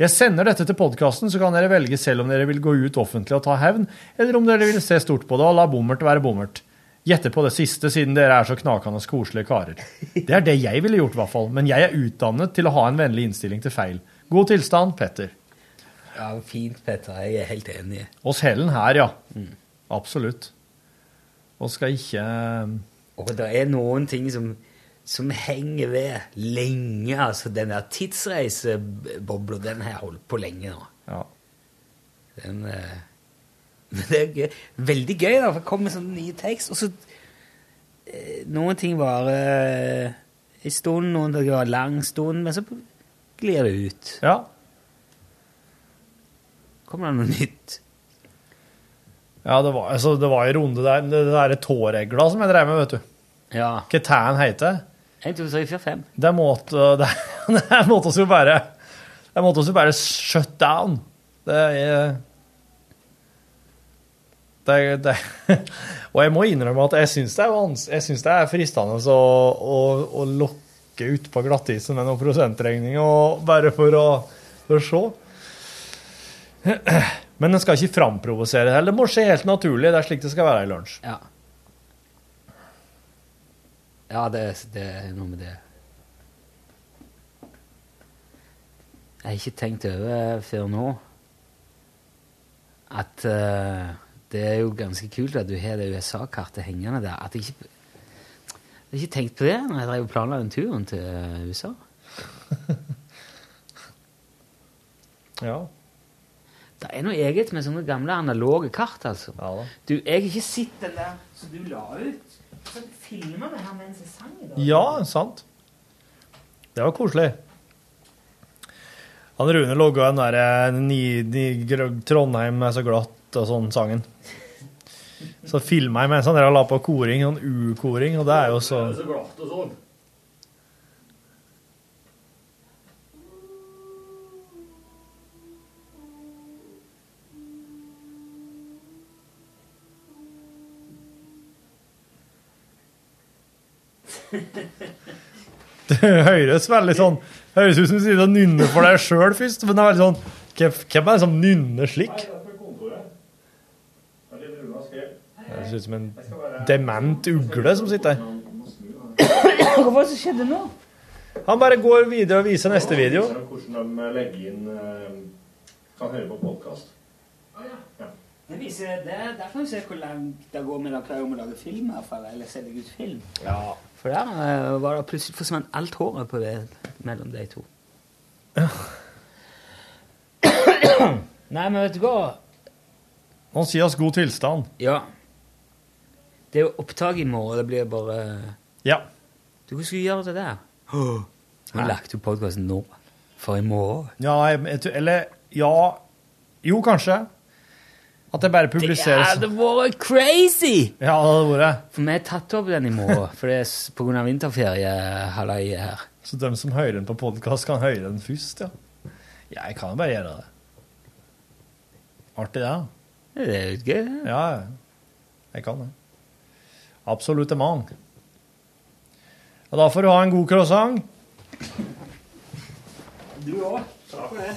S6: Jeg sender dette til podkasten, så kan dere velge selv om dere vil gå ut offentlig og ta hevn, eller om dere vil se stort på det og la bommert være bommert. Gjette på det siste, siden dere er så knakende koselige karer. Det er det jeg ville gjort, i hvert fall, men jeg er utdannet til å ha en vennlig innstilling til feil. God tilstand, Petter.
S3: Ja, Fint, Petter. Jeg er helt enig.
S6: Oss Helen her, ja. Absolutt. Og skal ikke
S3: Og det er noen ting som, som henger ved lenge. Altså, den der tidsreisebobla, den har jeg holdt på lenge nå.
S6: Ja.
S3: Den, eh, men det er gøy. veldig gøy, da, for det kommer sånn nye tekst, og så eh, Noen ting varer eh, en stund, noen ting varer en lang stund, men så glir det ut.
S6: Ja.
S3: Kommer det noe nytt?
S6: Ja, det var, altså, det var en runde der. Det, det derre tåregla som jeg drev med, vet du.
S3: Ja.
S6: Hva tæen heter det?
S3: En, to, tre, fire, fem.
S6: Det måtte, det, det måtte oss jo bare Det måtte oss jo bare shut down. Det er eh, det, det. Og jeg må innrømme at jeg syns det er, vans- jeg synes det er fristende å, å, å lokke utpå glattisen med noen prosentregning, og bare for å, for å se. Men en skal ikke framprovosere det heller. Det må skje helt naturlig. Det er slik det skal være i lunsj.
S3: Ja. Ja, det, det er noe med det. Jeg har ikke tenkt over før nå at eh, det er jo ganske kult at du har det USA-kartet hengende der. At jeg ikke, jeg har ikke tenkt på det når jeg drev og planla den turen til USA.
S6: Ja.
S3: Det er noe eget med sånne gamle analoge kart, altså. Du, jeg har ikke sett den der som du la ut. Så filmer vi her mens jeg sang i dag.
S6: Ja, sant. Det var koselig. Han Rune logga den der eh, ni, ni, gr- 'Trondheim er så glatt' og sånn sangen. Så filma jeg mens han drev og la på koring, sånn u-koring, og det er jo så
S13: glatt og sånn.
S6: Det høres veldig sånn Høres ut som du sitter og nynner for deg sjøl først, men det er veldig sånn hvem- Hvem er det som nynner slik? Det ser ut som en dement ugle som sitter her.
S3: Hva var det som skjedde nå?
S6: Han bare går videre og viser neste video.
S13: Hvordan de legger inn eh, Kan høre på podkast.
S3: Det viser, det, der kan du se hvor langt det går med å klare å lage film herfra, eller selge ut film.
S6: Ja.
S3: For der eh, var det plutselig forsvant alt håret på det mellom de to. Nei, men vet du hva?
S6: Han sier oss god tilstand.
S3: Ja. Det er jo opptak i morgen, det blir bare
S6: Ja.
S3: Du, hva skulle du gjøre det der? Vi har lagt opp podkasten nå, for i morgen.
S6: Ja, jeg, jeg, tror- eller Ja. Jo, kanskje. At det bare publiseres.
S3: Det hadde vært crazy!
S6: Ja, det hadde vært.
S3: For vi har tatt opp den i morgen, for det er s- på grunn av vinterferiehalvøyet her.
S6: Så de som hører den på podkast, kan høre den først, ja. Jeg kan jo bare gjøre det. Artig, det. da.
S3: Det er jo gøy, det.
S6: Ja, ja. jeg kan det. Absolutt mang. Og da får du ha en god croissant.
S3: Du òg. Takk for det.